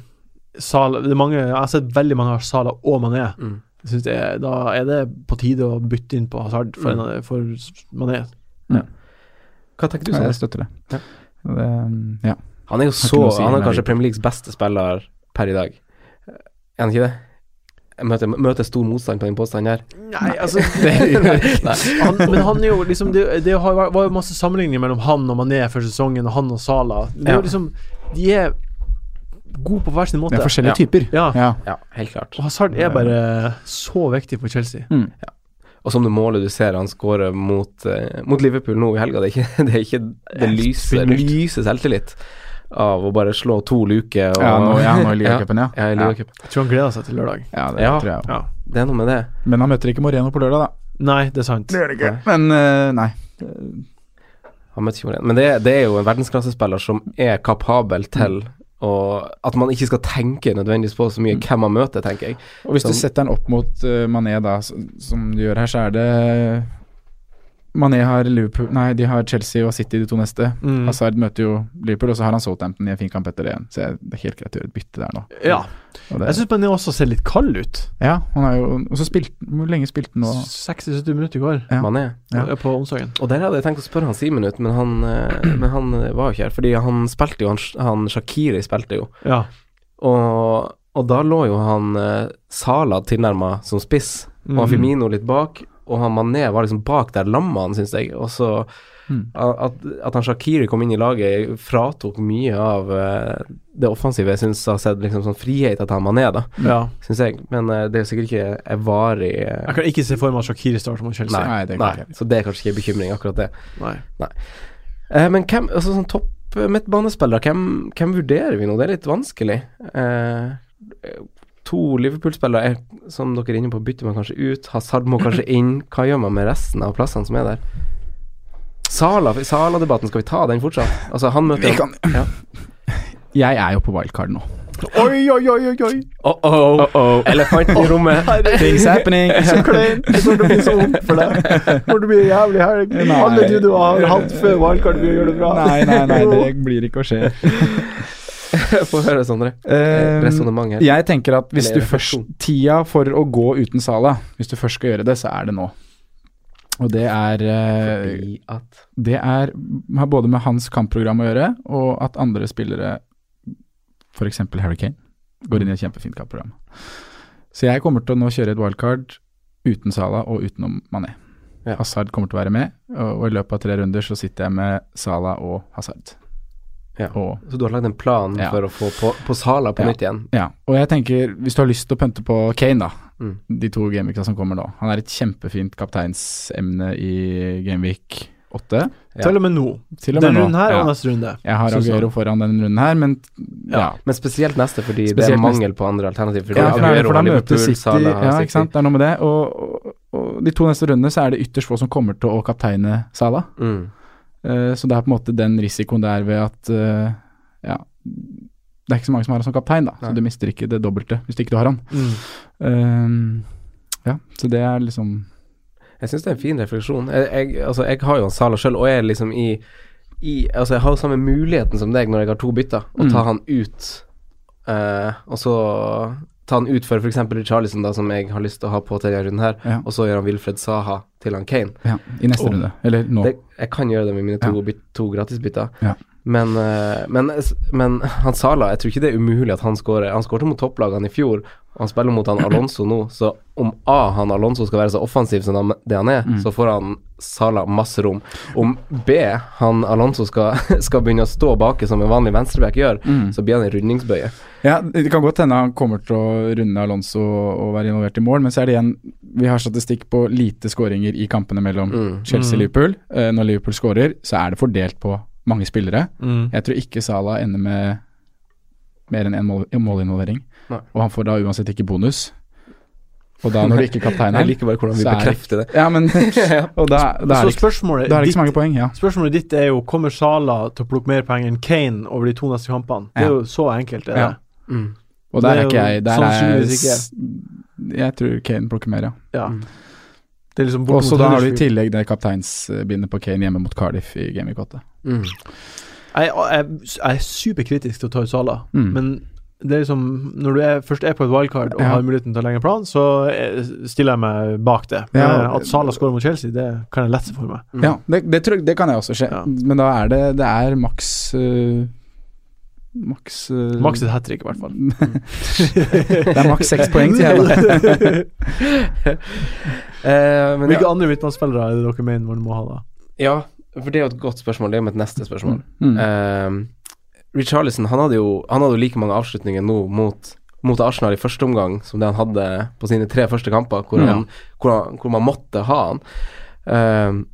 Sala- det er mange, Jeg har sett veldig mange har Sala og Mané. Mm. Jeg synes det er, da er det på tide å bytte inn på Hazard Mm. for, en av- for Mané. Hva tenker du, ja, jeg Sondre? støtter det. Ja. det um, ja. Han er jo ikke så noe å si Han er nei. kanskje Premier Leagues beste spiller per i dag. Er han ikke det? Jeg møter, møter stor motstand på den påstanden her. Nei, altså han, Men han er jo liksom Det, det har, var jo masse sammenligninger mellom han og Mané før sesongen, og han og Sala. Det er Ja. jo liksom De er gode på hver sin måte. Det er forskjellige Ja. typer. Ja. Ja. Eh. Ja, helt klart. Mm. Og Hazard er bare så viktig for Chelsea. Og som det målet du ser han scorer mot, eh, mot Liverpool nå i helga, det er ikke det, er ikke, det lyser, lyser selvtillit av å bare slå to luker. og- Ja, nå- ja, nå i ligacupen, ja. ja. i ligacupen. Jeg tror han gleder seg til lørdag. Ja, det Ja. tror jeg også. Ja. Det er noe med det. Men han møter ikke Moreno på lørdag, da. Nei, det er sant. Men eh, nei. Han møtte ikke Moreno. Men det, det er jo en verdensklassespiller som er Mm. kapabel til å At man ikke skal tenke nødvendigvis på så Mm. mye hvem man møter, tenker jeg. Og hvis Som- du setter den opp mot eh, Mané, da, s- som du gjør her, så er det Mané har Liverpool Nei, de har Chelsea og City de to neste. Mm. Hazard møter jo Liverpool, og så har han Southampton i en fin kamp etter det igjen. Så jeg- det er helt greit å gjøre et bytte der nå. Ja. Og, Jeg det, syns Mané også ser litt kald ut. ja, han har jo, og så spilte Hvor lenge spilte han nå? 60-70 minutter i går Ja. Man er. Ja. på onsdagen. Og der hadde jeg tenkt å spørre han Simen ut, men han, eh, men han eh, var jo ikke her. Fordi han spilte jo, han, han Shakiri spilte jo. Ja. Og, og da lå jo han eh, Sala tilnærma som spiss, og Mm. han Firmino litt bak. Og han Mané var liksom bak der lamma han, syns jeg. Og så Mm. at, at han Shakiri kom inn i laget, fratok mye av eh, det offensive. Jeg syns har sett liksom sånn frihet til han Mané, da, ja. syns jeg. Men eh, det er jo sikkert ikke en varig eh, Jeg kan ikke se for meg at Shakiri starter mot Chelsea. Nei, det kan Nei, jeg ikke. så det er kanskje ikke en bekymring, akkurat det. Nei. Eh, men hvem, altså sånn topp eh, midtbanespillere, hvem, hvem vurderer vi nå? Det er litt vanskelig. Eh, eh, to Liverpool-spillere er, som dere er inne på, bytter man kanskje ut. Hazard må kanskje inn. Hva gjør man med resten av plassene som er der? Sala- Sala-debatten, skal vi ta den fortsatt? Altså, han møter Vi kan- ja. Jeg er jo på wildcard nå. Oi, oi, oi, oi, oi! Oh -oh. Elefanten i rommet. Things happening. Så klein! Jeg tror det blir så vondt for deg. Når det blir en jævlig helg. Nei. Alle de du har hatt før wildcard, vil gjøre det bra. Nei, nei, nei, det blir ikke å skje. Få høre, Sondre. Eh, Resonnement her. Jeg tenker at hvis Eller du først refleksjon. Tida for å gå uten Sala, hvis du først skal gjøre det, så er det nå. Og det er eh, Fordi at Det er, har både med hans kampprogram å gjøre, og at andre spillere, f.eks. Harry Kane, går inn i et kjempefint kampprogram. Så jeg kommer til å nå kjøre et wildcard uten Sala og utenom Mané. Ja. Hazard kommer til å være med, og, og i løpet av tre runder så sitter jeg med Sala og Hazard. Ja. Og, Så du har lagd en plan Ja. for å få på, på Sala på Ja. nytt igjen? ja. og jeg tenker, hvis du har lyst til å pønte på Kane, da, Mm. de to gameweekene som kommer nå Han er et kjempefint kapteinsemne i gameweek 8. Til og med nå. Til og med Den nå. runden her Ja. og neste runde. Jeg har Synes jeg. Aguero foran denne runden her, men ja. Men spesielt neste, fordi det Spesielt er mangel på andre alternativ. Fordi Ja, for, da- Aguero for da har møter Liverpool, City Salah har Ja, City. ikke sant. Det er noe med det. Og, og, og de to neste rundene så er det ytterst få som kommer til å kapteine Salah. Mm. Eh, så det er på en måte den risikoen der ved at eh, ja, det er ikke så mange som har han som kaptein, da. Nei. Mm. Så du mister ikke det dobbelte hvis ikke du har han. Eh, ja, så det er liksom Jeg syns det er en fin refleksjon. Jeg, jeg, altså, jeg har jo en Salah sjøl, og jeg er liksom i, i Altså, jeg har jo samme muligheten som deg når jeg har to bytter, å Mm. ta han ut, eh, og så ta han ut for f.eks. Charlison, da, som jeg har lyst til å ha på til denne runden her, Ja. og så gjør han Wilfred Saha til han Kane. ja, i neste runde. Eller nå. Det, jeg kan gjøre det med mine to, Ja. byt- to gratisbytter. Ja. Men, eh, men, men han Sala, jeg tror ikke det er umulig at han skårer. Han skårte mot topplagene i fjor, og han spiller mot han Alonso nå. Så om A, han Alonso skal være så offensiv som han, det han er, Mm. så får han Sala masse rom. Om B, han Alonso skal, skal begynne å stå baki som en vanlig venstreback gjør, Mm. så blir han en rundingsbøye. Ja, Det kan godt hende han kommer til å runde Alonso og være involvert i mål, men så er det igjen Vi har statistikk på lite skåringer i kampene mellom Mm. Chelsea Mm. og Liverpool. Eh, Når Liverpool skårer, så er det fordelt på mange spillere. Mm. Jeg tror ikke Salah ender med mer enn én mål, en målinvolvering. Nei. Og han får da uansett ikke bonus. Og da, når du ikke er kaptein Jeg her liker bare hvordan vi så er- bekrefter det. Ja, men Og da, da, er, Så det ikke, spørsmålet, da er det ikke så ditt, mange poeng, ja. spørsmålet ditt er jo Kommer Sala til å plukke mer poeng enn Kane over de to neste kampene? Det er jo så enkelt. Er det. Ja. Mm. Og der Det er er ikke jo jeg. Der er sannsynligvis jeg ikke. s- Jeg tror Kane plukker mer, ja. Ja. Det er liksom bort Og så mot da har du i Huddersfield. tillegg det kapteinsbindet på Kane hjemme mot Cardiff i Gameweek 8. Mm. Jeg, jeg, jeg er superkritisk til å ta ut Sala, Mm. men det er liksom Når du er, først er på et wildcard og Ja. har muligheten til å legge en plan, så eh, stiller jeg meg bak det. Men eh, Ja. At Sala skårer mot Chelsea, det kan jeg lett se for meg. Ja, det, det, tror, det kan jeg også skje, Mm. Ja. men da er det, det er maks øh, Maks øh, Maks et hat trick, i hvert fall. Det er maks seks poeng, sier jeg da. Eh, men ja. Hvilke andre midtbanespillere er det dere mener man må ha da? Ja, for det er jo et godt spørsmål. Det er jo mitt neste spørsmål. Ehm, Mm. Eh, Richarlison han hadde, jo, han hadde jo like mange avslutninger nå mot mot Arsenal i første omgang, som det han hadde på sine tre første kamper, hvor, han, hvor, han, hvor man måtte ha han. Ehm,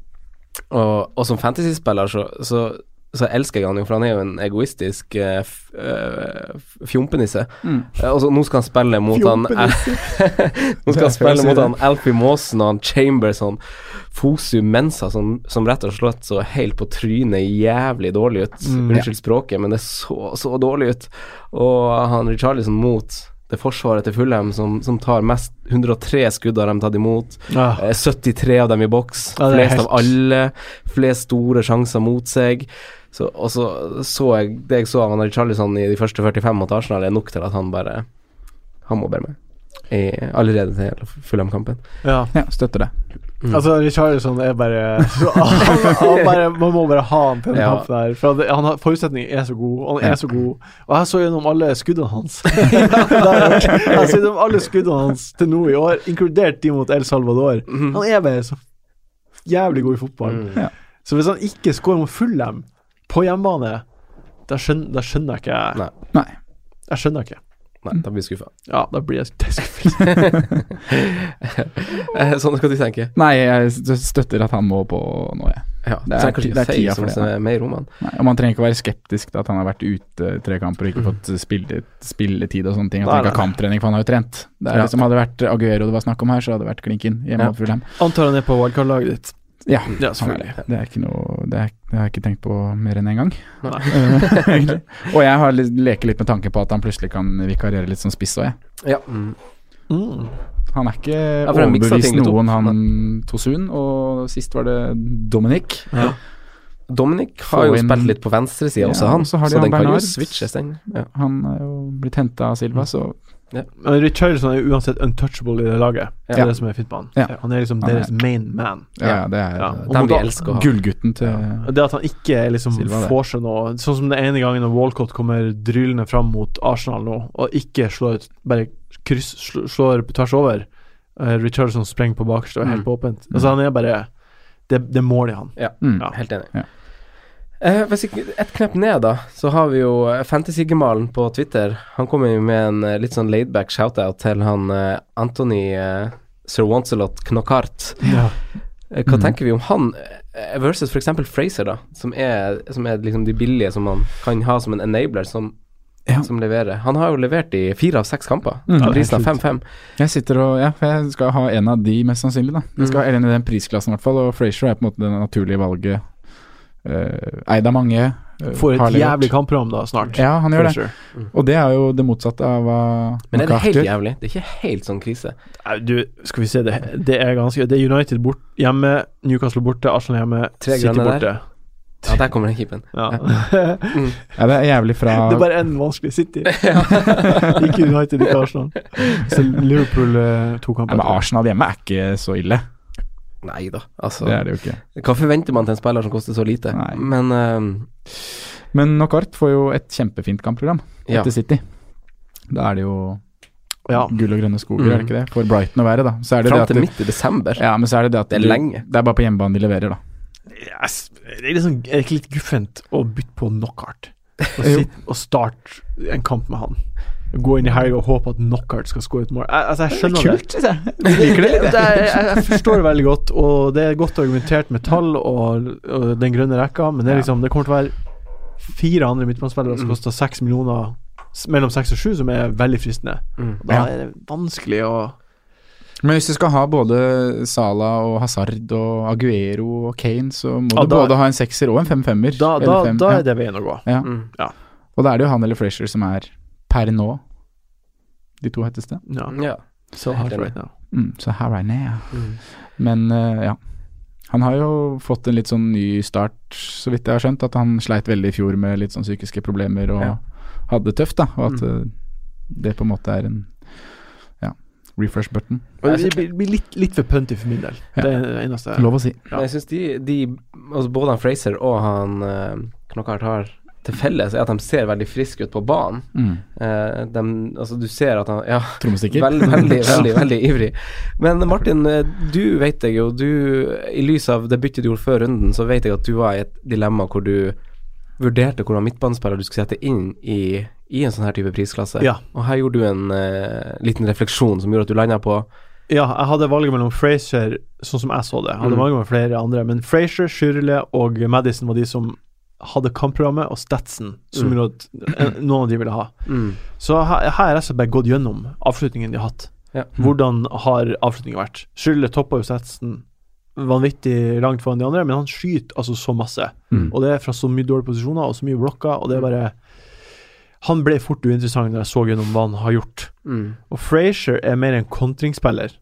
og, og som fantasyspiller så, så, så elsker jeg han jo, for han er jo en egoistisk eh, f, eh, f- fjompenisse. Mm. Eh, og så nå skal han spille mot han Nå skal han spille mot han sånn Alfie Maasen og han Chambers og han Fosu Mensa, som, som rett og slett så helt på trynet jævlig dårlig ut. Unnskyld språket, men det så så dårlig ut. Og han Richarlison mot det forsvaret til Fulham som, som tar mest 103 skudd har de tatt imot. Ja. Eh, 73 av dem i boks. Ja, det er flest av helt- alle. Flest store sjanser mot seg. Så, og så så jeg det jeg så av han Richarlison i de første 45 mot Arsenal, er nok til at han bare Han må bare med. I, allerede til Fulham-kampen. Ja. Ja, støtter det. Altså, Richarlison er bare, han, han bare Man må bare ha han til den Ja. kampen her. For han, han har, forutsetningen er så god, og han er så god. Og jeg så gjennom alle skuddene hans. jeg så gjennom alle skuddene hans til nå i år, inkludert de mot El Salvador. Han er bare så jævlig god i fotball. Ja. Så hvis han ikke scorer mot Fulham på hjemmebane, da skjønner, da skjønner jeg ikke Nei. Nei. Jeg skjønner ikke. Nei, da blir jeg skuffa. Ja, da blir jeg skuffet. sånn skal du tenke. Nei, jeg s- støtter at han må på nå, jeg. Ja, sånn Det er så kanskje ti- ikke det er Faye tida for som det, er med i rommene. Nei, og man trenger ikke være skeptisk til at han har vært ute i tre kamper og ikke fått spille, spilletid og sånne ting. At Mm. Nei, han ikke har nei. kamptrening, for han har jo trent. Det er Ja. liksom, hadde det vært Aguero det var snakk om her, så hadde det vært klinken hjemme Ja. ja. Fulham. Antar han er på wildcard-laget ditt. Ja, Ja, selvfølgelig. Det er ikke noe det, er, det har jeg ikke tenkt på mer enn én en gang. Nei. Egentlig. og jeg har litt, leker litt med tanken på at han plutselig kan vikariere litt som spiss òg, jeg. Ja. Mm. Mm. Han er ikke for han mikser overbevist ting litt opp, noen, han Tosun, og sist var det Dominic. Dominic har Få jo inn- spilt litt på venstresida Ja, også, han. og Så, så har de han den kan jo Bernard. switches, den. Ja. Han er jo blitt henta av Silva, så Men Richarlison er jo unntatt untouchable i det laget. Det Ja. er det som er fint med han. Ja. Han er liksom Han er- deres main man. ja, ja, det er Ja. det Og Den vi Modal- elsker å er ha. Gullgutten til Og Det at han ikke liksom Silva, det. får seg noe Sånn som den ene gangen når Walcott kommer drylende fram mot Arsenal nå, og ikke slår ut Bare kryss, sl- slår på tvers over. Uh, Richarlison sprenger på bakerste og er helt Mm. åpent. Altså Han er bare Det, det er mål i han. mm. Ja. Helt enig. Ja. Eh, hvis ikke, et knepp ned, da, så har vi jo eh, Fantasy-gemalen på Twitter. Han kommer jo med en eh, litt sånn laidback shout-out til han eh, Anthony eh, Sir Wancelot Knockart. Ja. Eh, Mm. Hva tenker vi om han eh, versus f.eks. Fraser, da, som er, som er liksom de billige som man kan ha som en enabler, som, Ja. som leverer. Han har jo levert i fire av seks kamper. Mm. Ja, det er Prisen av helt 5-5. Jeg sitter og Ja, for jeg skal ha en av de, mest sannsynlig, da. Jeg skal ha en i den prisklassen, i hvert fall. Og Frazier er på en måte det naturlige valget. Eh, eid av mange. eh, Får har et levert. jævlig kampprogram da snart. Ja, han gjør det. Fraser. Og det er jo det motsatte av hva Men er det helt MacArthur- jævlig? Det er ikke helt sånn krise. Nei, Du, skal vi se Det, det er ganske Det er United bort, hjemme, Newcastle borte, Arsenal hjemme, Tre City grønne der. borte. Ja, der kommer den keeperen. Ja. Ja, det er jævlig fra Det er bare én vanskelig City. ikke United, ikke Arsenal. Så Liverpool eh, to Nei, kamper. men Arsenal hjemme er ikke så ille. Nei da, altså. Det er det jo ikke. Hva forventer man til en spiller som koster så lite? Nei. Men ehm, Men Knockout får jo et kjempefint kampprogram Ja. etter City. Da er det jo ja. gull og grønne skoger, Mm. er det ikke det? For Brighton å være, da. Så er det fram det at til det, midt i desember. ja, men så er det det at Det er du- lenge. Det er bare på hjemmebane de leverer, da. Yes. Det er liksom, er det ikke litt guffent å bytte på knockout? Og, Jo. sitte og starte en kamp med han. Gå inn i helga og håpe at knockout skal score et mål. Jeg, altså, jeg skjønner det. syns jeg. Det er- jeg, jeg forstår det veldig godt, og det er godt argumentert med tall og, og den grønne rekka, men det, er liksom, det kommer til å være fire andre midtbanespillere som koster seks millioner, s- mellom seks og sju, som er veldig fristende. Og Da Ja. er det vanskelig å Men hvis du skal ha både Sala og Hazard og Aguero og Kane, så må Ja, du da- både ha en sekser og en fem-femmer. Da, da, Eller fem, da ja. er det veien å gå. Ja. Mm. Og da er det jo han eller Frazier som er per nå de to hetteste. Ja. Ja. So hard right now. Mm, så her er jeg. Men eh, ja. Han har jo fått en litt sånn ny start, så vidt jeg har skjønt. At han sleit veldig i fjor med litt sånn psykiske problemer og Ja. hadde det tøft, da. Og at eh, det på en måte er en ja, refresh button. Men Det blir- blir litt, litt for punty for min del. Ja. Det er det eneste. Lov å si. Men jeg syns de, de altså Både han Fraser og han uh, Knockhardt har til felles er at de ser veldig friske ut på banen. Mm. Eh, dem- altså du ser at han Ja, Trommestikker. Vel, veldig, veldig, veldig ivrig. Men Martin, eh, du vet jeg jo du, I lys av det byttet du gjorde før runden, så vet jeg at du var i et dilemma hvor du vurderte hvordan midtbanespiller du skulle sette inn i, i en sånn her type prisklasse. Ja. Og her gjorde du en eh, liten refleksjon som gjorde at du landa på Ja, jeg hadde valget mellom Frazier, sånn som jeg så det. Jeg hadde Mm. valget mellom flere andre, men Frazier, Shirley og Madison var de som hadde kampprogrammet, og Stetson, som Mm. gjorde at eh, noen av de ville ha. Så her her har jeg rett og slett bare gått gjennom avslutningen de har hatt. Ja. Mm. Hvordan har avslutningen vært? Schürrle toppa jo Stetson vanvittig langt foran de andre, men han skyter altså så masse. Mm. Og det er fra så mye dårlige posisjoner og så mye blokker, og det er bare Han ble fort uinteressant når jeg så gjennom hva han har gjort. Mm. Og Frazier er mer en kontringsspiller.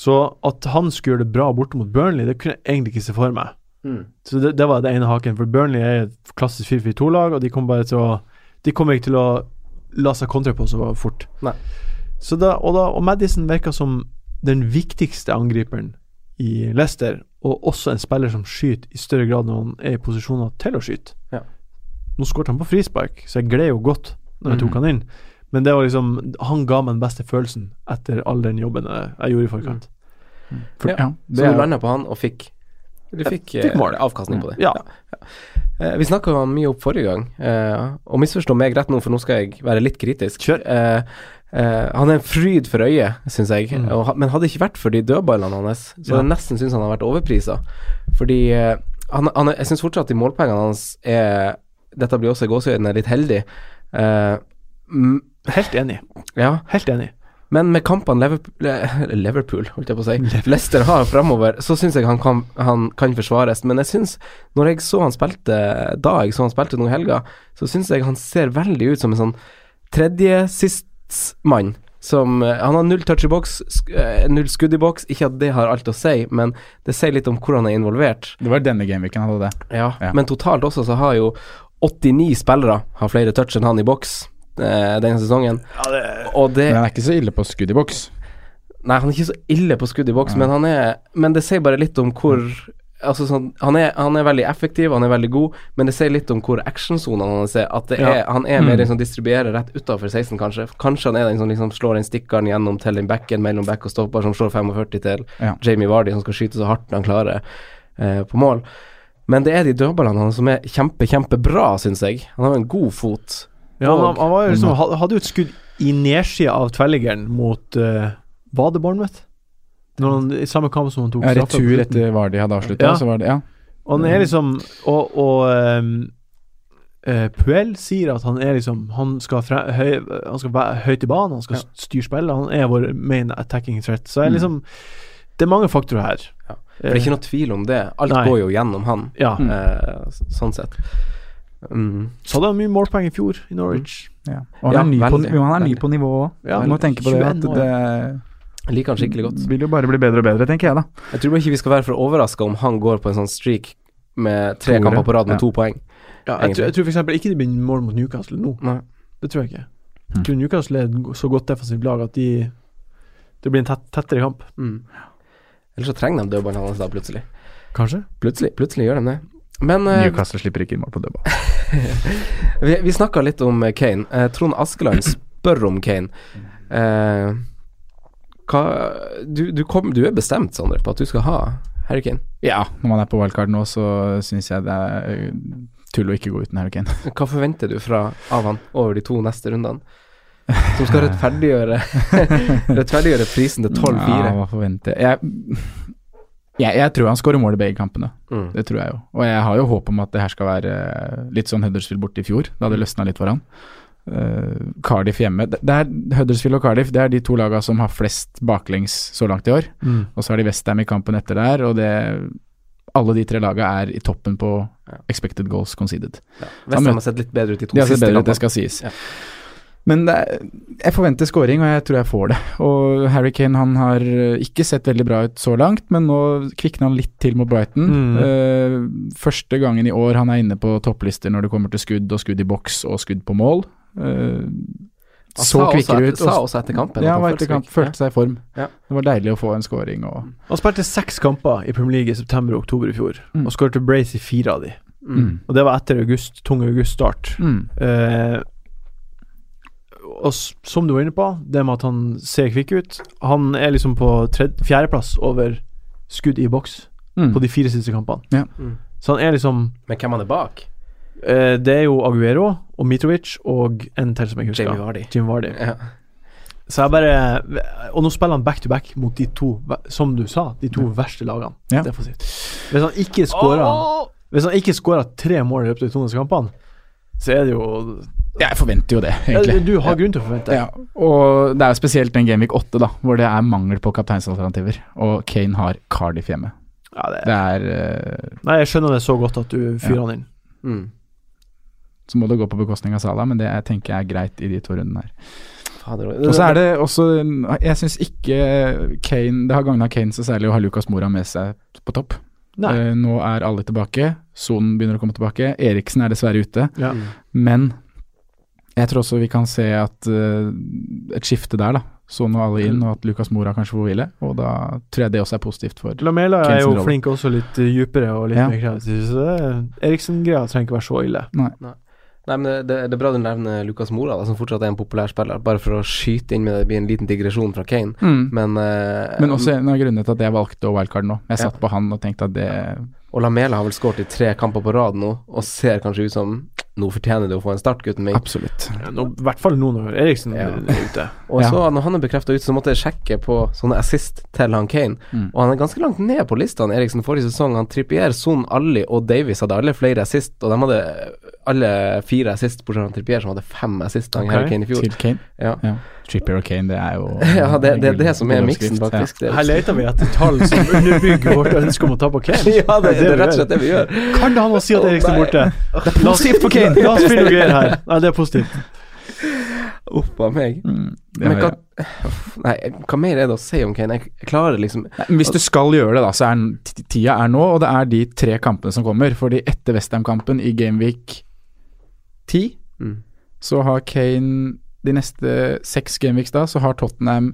Så at han skulle gjøre det bra borte mot Burnley, det kunne jeg egentlig ikke se for meg. Mm. Så det, det var det ene haken, for Burnley er et klassisk 4-4-2-lag, og de kommer bare til å De kommer ikke til å la seg kontre på så fort. Nei. Så da, og, da, og Madison virka som den viktigste angriperen i Leicester, og også en spiller som skyter i større grad når han er i posisjoner til å skyte. Ja. Nå skåret han på frispark, så jeg gled jo godt når Mm. jeg tok han inn. Men det var liksom Han ga meg den beste følelsen etter all den jobben jeg, jeg gjorde i forkant. For, Ja. ja, det Så er- du landa på han og fikk Du fikk, eh, fikk mål. avkastning på det. Ja. Eh, Vi snakka mye opp forrige gang, eh, og misforstå meg rett nå, for nå skal jeg være litt kritisk. Eh, eh, han er en fryd for øyet, syns jeg, og, ha- men hadde det ikke vært for de dødballene hans, så Ja. jeg nesten syns han har vært overprisa. Fordi eh, han, han, er- jeg syns fortsatt at de målpengene hans er Dette blir også i gåseøynene litt heldig. Eh, mm, Helt enig. ja. Helt enig. Men med kampene Liverpool, Le- Liverpool holdt jeg på å si, Leicester har framover, så syns jeg han kan, han kan forsvares. Men jeg syns, når jeg så han spilte da jeg så han spilte noen helger, så syns jeg han ser veldig ut som en sånn tredje sistemann. Som eh, Han har null touch i boks, sk eh, null skudd i boks. Ikke at det har alt å si, men det sier litt om hvor han er involvert. Det var denne gameweeken han hadde det. Ja, Ja. Men totalt også så har jo 89 spillere har flere touch enn han i boks eh, denne sesongen. Og det Men han er ikke så ille på skudd i boks. Nei, han er ikke så ille på skudd i boks, men han er Men det sier bare litt om hvor Mm. Altså sånn, han, er, han er veldig effektiv, han er veldig god, men det sier litt om hvor actionsonene hans er. At det Ja. Mm. er, han er mer den som distribuerer rett utafor 16, kanskje. Kanskje han er den som liksom slår den stikkeren gjennom til den backen mellom back og stopper, som slår 45 til Ja. Jamie Vardy, som skal skyte så hardt han klarer eh, på mål. Men det er de dødballene hans som er kjempe, kjempebra, syns jeg. Han har jo en god fot. Ja, Og- han, han var jo liksom, han hadde jo et skudd i nedsida av tverrliggeren mot uh, Var det Bournemouth? Når han, I samme kamp som han tok Ja, straffe på retur slutten. etter Vardy hadde avslutta, Ja. så var det Ja. Og han er liksom Og, og ehm, eh, Puel sier at han er liksom Han skal, fre, høy, han skal være høyt i banen, han skal Ja. styre spillet. Han er vår main attacking threat. Så jeg liksom Det er mange faktorer her. Ja. For det er ikke noe tvil om det. Alt Eh. Nei. går jo gjennom han, Ja. Mm. eh, s- sånn sett. Mm. Så hadde han mye målpoeng i fjor, i Norwich. ja. Og han, Ja, er ny på, veldig, jo, han er ny veldig. på nivå òg. Ja, du må tenke på det. At 21 år. det Jeg liker han skikkelig godt. vil jo bare bli bedre og bedre, tenker jeg, da. Jeg tror bare ikke vi skal være for overraska om han går på en sånn streak med tre Tore. kamper på rad med Ja. to poeng. Ja, jeg, tror- jeg tror for eksempel ikke det blir mål mot Newcastle nå. Nei. Det tror jeg ikke. Jeg tror Newcastle er et så godt defensivt lag at de det blir en tett, tettere kamp. Mm. Eller så trenger de dødballen hans da, plutselig. Kanskje? Plutselig, plutselig gjør de det. Men eh, Newcastle slipper ikke inn mål på dødball. vi, vi snakka litt om eh, Kane. Eh, Trond Askeland spør om Kane. Eh, hva, du, du, kom, du er bestemt, Sondre, på at du skal ha Harry Kane. Ja, når man er på wildcard nå, så syns jeg det er eh, tull å ikke gå uten Harry Kane. Hva forventer du fra, av han over de to neste rundene? Som skal rettferdiggjøre Rettferdiggjøre prisen til 12-4. Ja, hva forventer jeg? Jeg, jeg tror han skårer mål i begge kampene. Mm. Det tror jeg jo. Og jeg har jo håp om at det her skal være eh, litt sånn Huddersfield borte i fjor. Da det løsna litt for han. Eh, Cardiff hjemme. Det, det er Huddersfield og Cardiff det er de to laga som har flest baklengs så langt i år. Mm. Og så har de Westham i kampen etter der, og det Alle de tre laga er i toppen på Ja. expected goals conceded. Vestheim har sett litt bedre ut i to De har sett siste bedre ut, det kampene. skal sies. Ja. Men det er, jeg forventer scoring, og jeg tror jeg får det. Og Harry Kane han har eh, ikke sett veldig bra ut så langt, men nå kvikner han litt til mot Brighton. Mm. Eh, første gangen i år han er inne på topplister når det kommer til skudd, og skudd i boks og skudd på mål. Eh, Han så sa også kvikkere et- ut. Sa og- også etter kampen. ja, at han var etter kamp, seg følte seg i form. Ja. Det var deilig å få en scoring og Han spilte seks kamper i Premier League i september og oktober i fjor, Mm. og skåret brace i fire av de. mm. Og det var etter august, tung august-start. Mm. Eh, og s- som du var inne på, det med at han ser kvikk ut Han er liksom på tredje- fjerdeplass over skudd i boks Mm. på de fire siste kampene. Ja. Mm. Så han er liksom ja. Men hvem han er bak? Eh, det er jo Aguero og Mitrovic og en til som jeg husker. Jamie Vardy. Jim Vardy. Ja. Så jeg bare Og nå spiller han back to back mot de to, ve- som du sa, de to verste lagene. Ja. Defensivt. Hvis han ikke scorer Hvis han ikke scorer tre mål i løpet av de to neste kampene, så er det jo Jeg forventer jo det, ja, egentlig. Du har grunn til å forvente. Ja, og det er jo spesielt den Gameweek 8, da, hvor det er mangel på kapteinsalternativer. Og Kane har Cardiff hjemme. Ja, det Det er eh, Nei, jeg skjønner det så godt at du fyrer han inn. Mm. Så må det gå på bekostning av Salah, men det er, tenker jeg er greit i de to rundene her. Fader, Og så er det også Jeg syns ikke Kane Det har gagna Kane så særlig å ha Lucas Mora med seg på topp. Nei. Eh, nå er alle tilbake. Sonen begynner å komme tilbake. Eriksen er dessverre ute. Ja. Men jeg tror også vi kan se at eh, et skifte der, da. Sånn og alle inn, og at Lucas Mora kanskje får hvile. Og da tror jeg det også er positivt for Lamela er Kane sin jo rolle. flink også litt eh, djupere og litt Ja. mer kreativ. Så det- Eriksen-greia trenger ikke være så ille. Nei, men det, det er bra du nevner Lukas Mora, da, som fortsatt er en populær spiller. Bare for å skyte inn med det, det blir en liten digresjon fra Kane. Mm. Men, eh, Men også en av grunnene til at jeg valgte å wildcard nå. Jeg Ja. satt på han og tenkte at det Og Lamela har vel skåret i tre kamper på rad nå, og ser kanskje ut som Nå fortjener du å få en start, gutten min. Absolutt. Ja, nå- I hvert fall nå når Eriksen Ja. er ute. Og Ja. så, når han er bekrefta ute, så måtte jeg sjekke på sånne assist til han Kane. Og han er ganske langt ned på listene. Eriksen forrige sesong, han Trippier, Son, Alli og Davies hadde alle flere assist, og de hadde eh, alle fire assist, bortsett fra Trippier, som hadde fem assist da han Ok, Harry Kane i fjor. Til Kane. Ja. Ja. Trippier og Kane, det er jo Ja, det, det er det som er gull- miksen, gull- faktisk. Det er- Her leter vi etter tall som underbygger vårt ønske om å ta på Kane. Ja, det, det er rett og slett vi det vi gjør. gjør. Kan det ha noe å si at Å, Eriksen er nei. borte? La oss- La oss finne noe greier her. Nei, det er positivt. Uff a meg. Mm, det Men har hva, jeg. nei, hva mer er det å si om Kane? Jeg, jeg klarer liksom Nei, men Hvis du skal gjøre det, da, så er den- t- tida er nå, og det er de tre kampene som kommer. Fordi etter Westham-kampen i Gameweek 10, Mm. så har Kane de neste seks Gameweeks da, så har Tottenham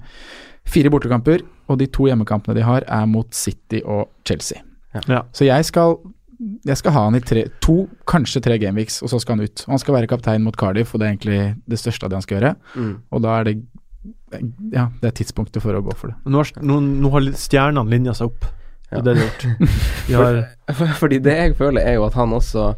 fire bortekamper, og de to hjemmekampene de har, er mot City og Chelsea. Ja. Ja. Så jeg skal jeg skal ha han i tre, to, kanskje tre Gameweeks, og så skal han ut. Og han skal være kaptein mot Cardiff, og det er egentlig det største av det han skal gjøre. Mm. Og da er det Ja, det er tidspunktet for å gå for det. Nå har, nå, nå har litt stjernene linja seg opp. Ja. Og det er det gjort. Vi har, For- Fordi det jeg føler, er jo at han også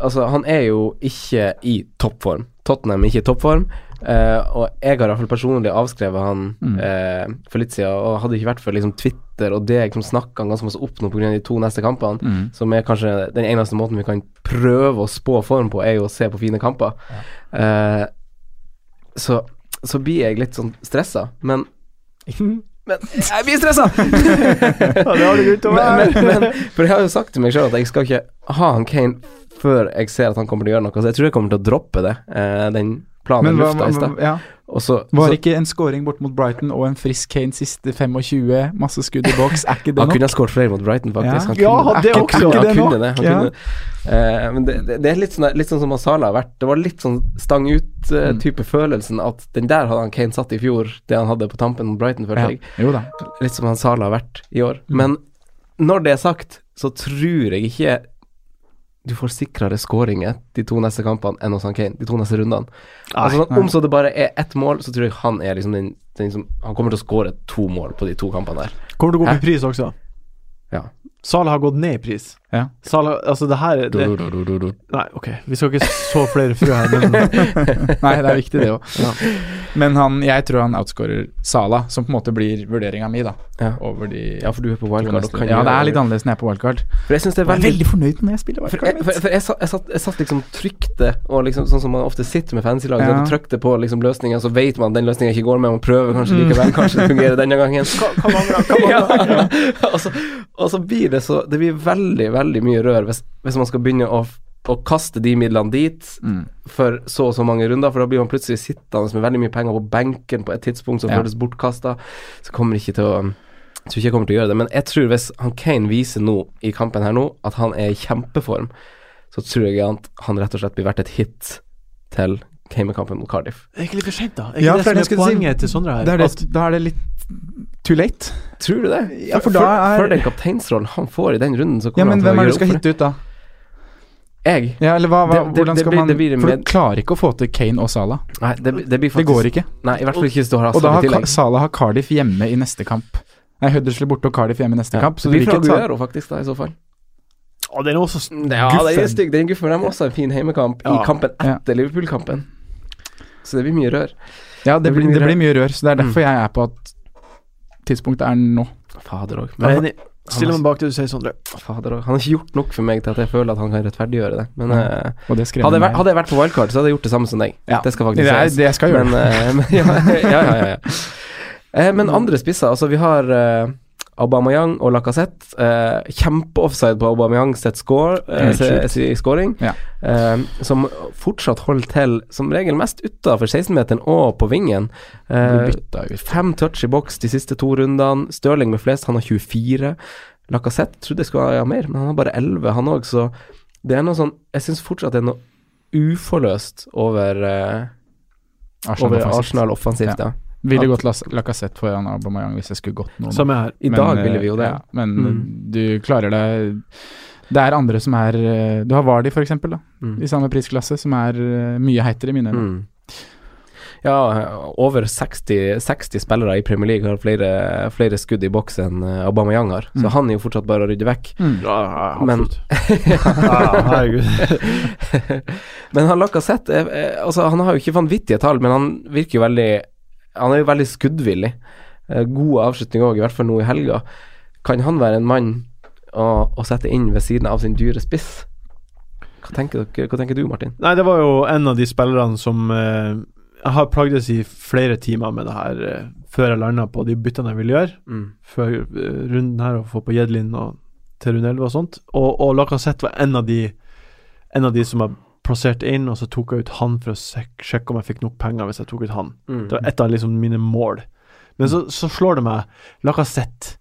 Altså, han er jo ikke i toppform. Tottenham er ikke i toppform. eh, og jeg har i hvert fall personlig avskrevet han eh, for litt siden. Og hadde det ikke vært for liksom, Twitter og deg som snakka han ganske masse opp nå pga. de to neste kampene, som er kanskje den eneste måten vi kan prøve å spå form på, er jo å se på fine kamper. Eh, så, så blir jeg litt sånn stressa. Men Men jeg blir stressa! ja, det har du grunn til å men, være. men, men, for jeg har jo sagt til meg sjøl at jeg skal ikke ha han Kane før jeg ser at han kommer til å gjøre noe, så jeg tror jeg kommer til å droppe det, eh, den planen i lufta i stad. ja. Og så, Var så ikke en scoring bort mot Brighton og en frisk Kane siste 25, masse skudd i boks, er ikke det han nok? kunne ha skåret flere mot Brighton, faktisk. Ja. han kunne Ja, det også. Han Er ikke kunne det han nok? kunne det. Han Ja. kunne det. Eh, men det, det, det er litt sånn, litt sånn som Masala har vært. Det var litt sånn stang Mm. ut-type følelsen at den der hadde han Kane satt i fjor, det han hadde på tampen mot Brighton, følte Ja. jeg. Jo da. litt som han Sala har vært i år. Men når det er sagt, så tror jeg ikke du får sikrere skåringer de to neste kampene enn hos han Kane, de to neste rundene. altså, sånn, om så det bare er ett mål, så tror jeg han er liksom den, den som Han kommer til å skåre to mål på de to kampene der. Kommer til å gå opp Hæ? i pris også. Ja. Salah har gått ned i pris. Ja. Salah, altså det her det, Nei, ok, vi skal ikke så flere frø her, men Nei, det er viktig, det òg. Men han, jeg tror han outscorer Sala, som på en måte blir vurderinga mi, da. Ja. Over de Ja, for du er på wildcard og kan Ja, gjøre- det er litt annerledes når jeg er på wildcard. For jeg syns det er Jeg er veldig veldig fornøyd når jeg spiller For jeg, wildcard. for, for jeg, satt, jeg, satt, jeg satt liksom trykte, og liksom sånn som man ofte sitter med fancy-lag, Ja. ja. trykte på liksom løsninger, så vet man at den løsninga ikke går med, man prøver kanskje Mm. likevel, kanskje det fungerer denne gangen. Hva mangler, og, så, og så blir det så Det blir veldig, veldig mye rør hvis, hvis man skal begynne å, å kaste de midlene dit Mm. for så og så mange runder, for da blir man plutselig sittende med veldig mye penger på benken på et tidspunkt som Ja. føles bortkasta, så kommer det ikke til å jeg tror ikke jeg kommer til å gjøre det, men jeg tror hvis han Kane viser nå i kampen her nå at han er i kjempeform, så tror jeg at han rett og slett blir verdt et hit til Kane-kampen mot Cardiff. Det er ikke litt for sent, da. Er ikke Ja, for det som det er skulle jeg si. poenget til Sondre her? Da er at altså, det, da er det litt too late. Tror du det? Ja, for da er- For den kapteinsrollen han får i den runden, så Ja, kommer han men til hvem å er gjøre det du opp skal for det. hitte ut, da? Jeg? Ja, eller hva, hva, Det- det- hvordan det skal blir- man det blir en For du med- klarer ikke å få til Kane og Sala. Nei, det, det blir Det faktisk går ikke. Nei, i hvert fall ikke hvis du har Og da Hazard Altså, i har Ka- tillegg. Salah har Cardiff hjemme i neste kamp. Nei, Huddersfield borte og Cardiff hjemme i neste Ja. kamp. Så det blir det blir fra ikke et Salah- Aguero, faktisk, da, i så fall. Å, den er også s- Ja, den er guffen. stygg. Den guffer dem også en fin heimekamp Ja. i kampen Ja. etter Liverpool-kampen. Så det blir mye rør. Ja, det, Det blir mye blir, Mm. det rør. blir mye rør, så det er derfor jeg er på at tidspunktet er nå. Fader òg. Jeg er Han, enig. Stiller meg bak det du sier, Sondre. fader også. han har ikke gjort nok for meg til at jeg føler at han kan rettferdiggjøre det. Men eh, Og det skrev hadde, jeg jeg vært, hadde jeg vært på wildcard, så hadde jeg gjort det samme som deg. Ja. Det skal Det faktisk er sies. det jeg skal gjøre. Men, eh, men ja, ja, ja, ja, ja. Eh, men andre spisser, altså vi har eh, Aubameyang og Lacassette. Eh, Kjempeoffside på Aubameyang sitt score, eh, Helt sjukt. si- si- scoring, Ja. eh, som fortsatt holder til som regel mest utafor 16-meteren og på vingen. Eh, Blir bytta ut. fem touch i boks de siste to rundene. Stirling med flest, han har 24. Lacassette trodde jeg skulle ha mer, men han har bare 11, han òg, så det er noe sånn Jeg syns fortsatt det er noe uforløst over eh, Arsenal over offensivt. Arsenal offensivt, ja. Ville gått Las- Lacassette foran Aubameyang hvis jeg skulle gått noen. Samme her. I Men, dag eh, ville vi jo det. Ja, men Mm. du klarer deg Det er andre som er eh, Du har Vardi, for eksempel, da, Mm. i samme prisklasse, som er eh, mye heitere i mine øyne. Mm. Ja, over 60, 60 spillere i Premier League har flere, flere skudd i boks enn eh, Aubameyang har, så Mm. han er jo fortsatt bare å rydde vekk. Ja, ja, Men- absolutt. Ja, herregud. men han Lacassette er- er- altså, Han har jo ikke vanvittige tall, men han virker jo veldig Han er jo veldig skuddvillig. Eh, God avslutning òg, i hvert fall nå i helga. Kan han være en mann å, å sette inn ved siden av sin dyre spiss? Hva tenker, dere, hva tenker du, Martin? Nei, det var jo en av de spillerne som eh, Jeg har plagdes i flere timer med det her eh, før jeg landa på de byttene jeg ville gjøre. før eh, runden her og få på Jedlin og til runde 11 og sånt. Og, og Lacassette var en av de En av de som jeg plasserte inn, og så tok jeg ut han for å sjek sjekke om jeg fikk nok penger hvis jeg tok ut han. Det var et av liksom mine mål. Men så, så slår det meg. Lacassette,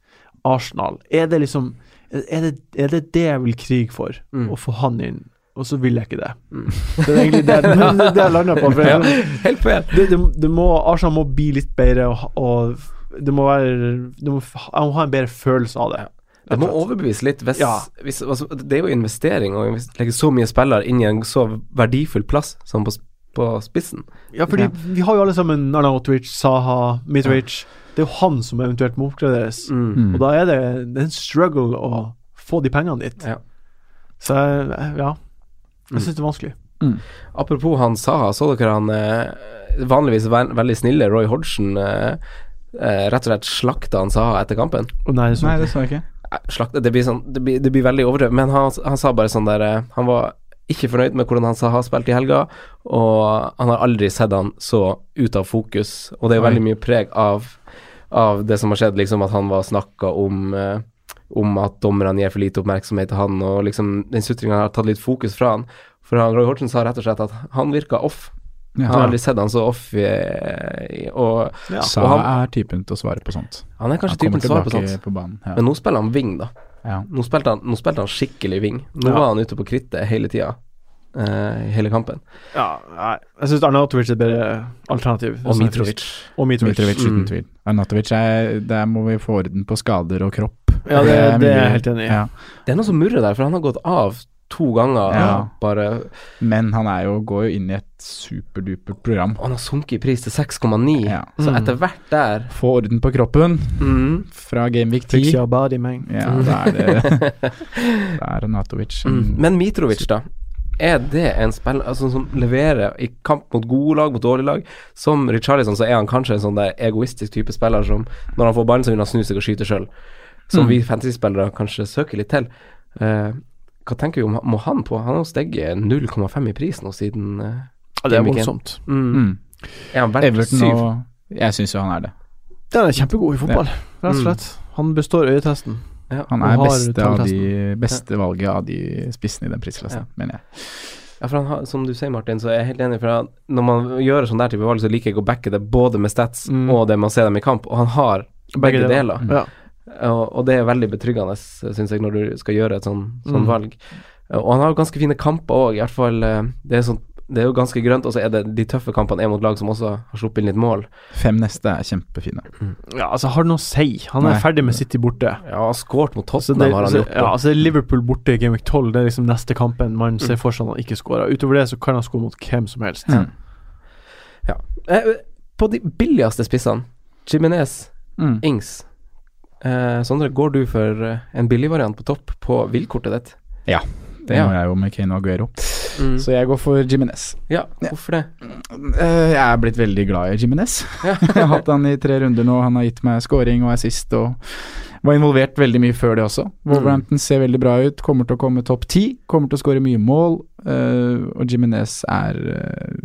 Arsenal. Er det liksom Er det er det, det jeg vil krige for? Mm. Å få han inn? Og så vil jeg ikke det. Det er egentlig det, det, er det jeg lander på. For jeg, Helt på igjen. det, det, det må, Arsenal må bli litt bedre, og, og det må være det må, f- Jeg må ha en bedre følelse av det. Det må overbevise litt. Hvis, Ja. hvis, altså, det er jo investering å invest- legge så mye spillere inn i en så verdifull plass som på, s- på spissen. Ja, fordi vi har jo alle sammen Arnautovic, Saha, Mitrovic. Det er jo han som eventuelt må oppgraderes. Mm. Og da er det, det er en struggle å få de pengene dit. Ja. Så jeg- ja. Jeg syns det er vanskelig. Apropos han Saha, så dere han eh, vanligvis ve veldig snille Roy Hodgson eh, eh, rett og slett slakta han Saha etter kampen? Å nei, det er Nei, sånn. det så jeg ikke. Eh, Slakta, det blir sånn Det blir, det blir veldig overdrevet, men han, han sa bare sånn der eh, Han var ikke fornøyd med hvordan han Saha spilte i helga, og han har aldri sett han så ut av fokus, og det er jo Oi. veldig mye preg av av det som har skjedd, liksom at han var snakka om eh, om at dommerne gir for lite oppmerksomhet til han, og liksom den sutringa har tatt litt fokus fra han. For han, Roy Hortsen sa rett og slett at han virka off. Ja. Jeg har aldri sett han så off i, i og, Ja. Sa og han, er typen til å svare på sånt. han er kanskje Han kommer typen til å svare på tilbake sånt. på banen. Ja. Men nå spiller han wing, da. Ja. Nå spilte han, nå spilte han skikkelig wing. Nå Ja. var han ute på krittet hele tida. eh, i hele kampen. Ja, nei. Jeg syns Arnautovic er et bedre alternativ. Det er Og sånn jeg Mitrovic. synes. Og Mitrovic. Mitrovic, Mm. uten tvil. Arnatovic, er, der må vi få orden på skader og kropp. Ja, det, mye- det er jeg helt enig i. Ja. Det er noe som murrer der, for han har gått av to ganger. Ja. Bare, Men han er jo, går jo inn i et superdupert program. og han har sunket i pris til 6,9. Ja. Så Mm. etter hvert der Få orden på kroppen mm, fra Gameweek Fix 10. your body, man. Ja, da er det Da er Arnatovic mm. Men Mitrovic, da. Er det en spiller altså, som leverer i kamp mot gode lag, mot dårlige lag? Som Richarlison så er han kanskje en sånn der egoistisk type spiller som når han får ballen, så vil han snu seg og skyte sjøl. Som vi fantasy-spillere kanskje søker litt til. Eh, hva tenker vi om må han på? Han har jo steget 0,5 i pris nå siden eh, Ja, det er Gameweeken. voldsomt. mm. Mm. Er han verdt Everton syv? og Jeg syns jo han er det. Den er kjempegod i fotball, rett og Mm. slett. Han består øyetesten. Ja. Han Og er har beste, av de, talltesten. beste valget av de spissene i den prisklassen, Ja. mener jeg. Ja, for han har, som du sier, Martin, så er jeg helt enig. For han, når man gjør sånn der type valg, så liker jeg å backe det både med stats Mm. og det man ser dem i kamp, og han har begge, deler. Mm. Ja. Og, og det er veldig betryggende, syns jeg, når du skal gjøre et sånn, sånn Mm. valg. Og han har jo ganske fine kamper òg, i hvert fall. eh, Det er, sånn, det er jo ganske grønt, og så er det de tøffe kampene er mot lag som også har sluppet inn litt mål. Fem neste er kjempefine. ja, altså har det noe å si? Han er Nei. ferdig med City borte. Ja, og skåret mot Så Tottenham det, har han så, gjort. ja, altså Liverpool borte i Game Week 12, det er liksom neste kampen man ser for seg at han ikke scorer. Utover det så kan han score mot hvem som helst. Mm. Eh, På de billigste spissene, Jiminez, Mm. Ings eh, Sondre, går du for eh, en billig variant på topp på villkortet ditt? Ja, det Ja. må jeg jo med Kane og Aguero. Mm. Så jeg går for Jiminez. Ja, hvorfor det? Eh, Jeg er blitt veldig glad i Jimenez. jeg har hatt han i tre runder nå. Han har gitt meg scoring og assist og var involvert veldig mye før det også. Wolverhampton ser veldig bra ut, kommer til å komme topp ti, kommer til å skåre mye mål. eh, og Jimenez er eh,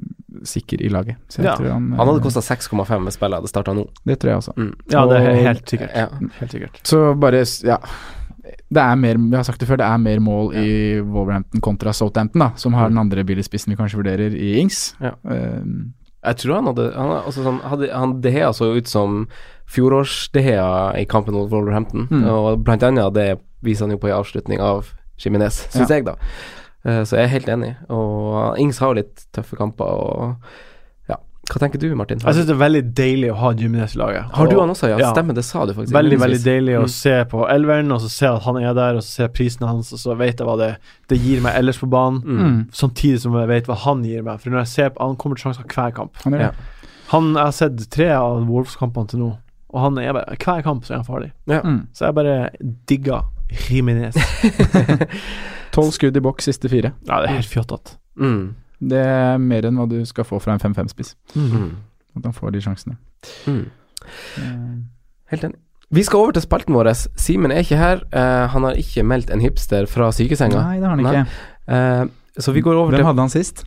sikker i laget. Så jeg Ja, tror han, eh, Han hadde kosta 6,5 hvis spillet hadde starta nå. Det tror jeg også. Mm. Ja, det er Og- helt sikkert. Ja. Helt sikkert. Så bare s- Ja. Det er mer, jeg har sagt det før, det er mer mål i Wolverhampton kontra Southampton, da, som har den andre billigspissen vi kanskje vurderer, i Ings. Mm. Ja. Eh, Jeg tror han hadde Han, er også sånn, hadde, han Dehea så jo ut som fjorårs-Dehea i kampen mot Wolverhampton, Mm. og blant annet det viser han jo på i avslutning av Jiminez, syns jeg, da. Eh, Så jeg er helt enig. Og eh, Ings har jo litt tøffe kamper, og ja. Hva tenker du, Martin? Jeg syns det er veldig deilig å ha Jiminez i laget. har du Og- han også? Ja, ja. stemmer, det sa du faktisk. Veldig, veldig innledningsvis. deilig å Mm. se på elveren, og så se at han er der, og så se prisen hans, og så vet jeg hva det, det gir meg ellers på banen. Mm. Samtidig som jeg vet hva han gir meg. For når jeg ser på, Han kommer til sjanser hver kamp. han gjør det. Ja. Han, jeg har sett tre av Wolves-kampene til nå, og han er bare, hver kamp så er han farlig. Ja. Mm. Så jeg bare digger Jiminez. Tolv skudd i boks, siste fire. Ja, det er helt fjottete. Mm. Det er mer enn hva du skal få fra en 5-5-spiss. Mm. At han får de sjansene. Mm. Helt enig. Vi skal over til spalten vår. Simen er ikke her. Eh, han har ikke meldt en hipster fra sykesenga. Nei, det har han Nei. ikke. Eh, så vi går over Hvem til hadde han sist?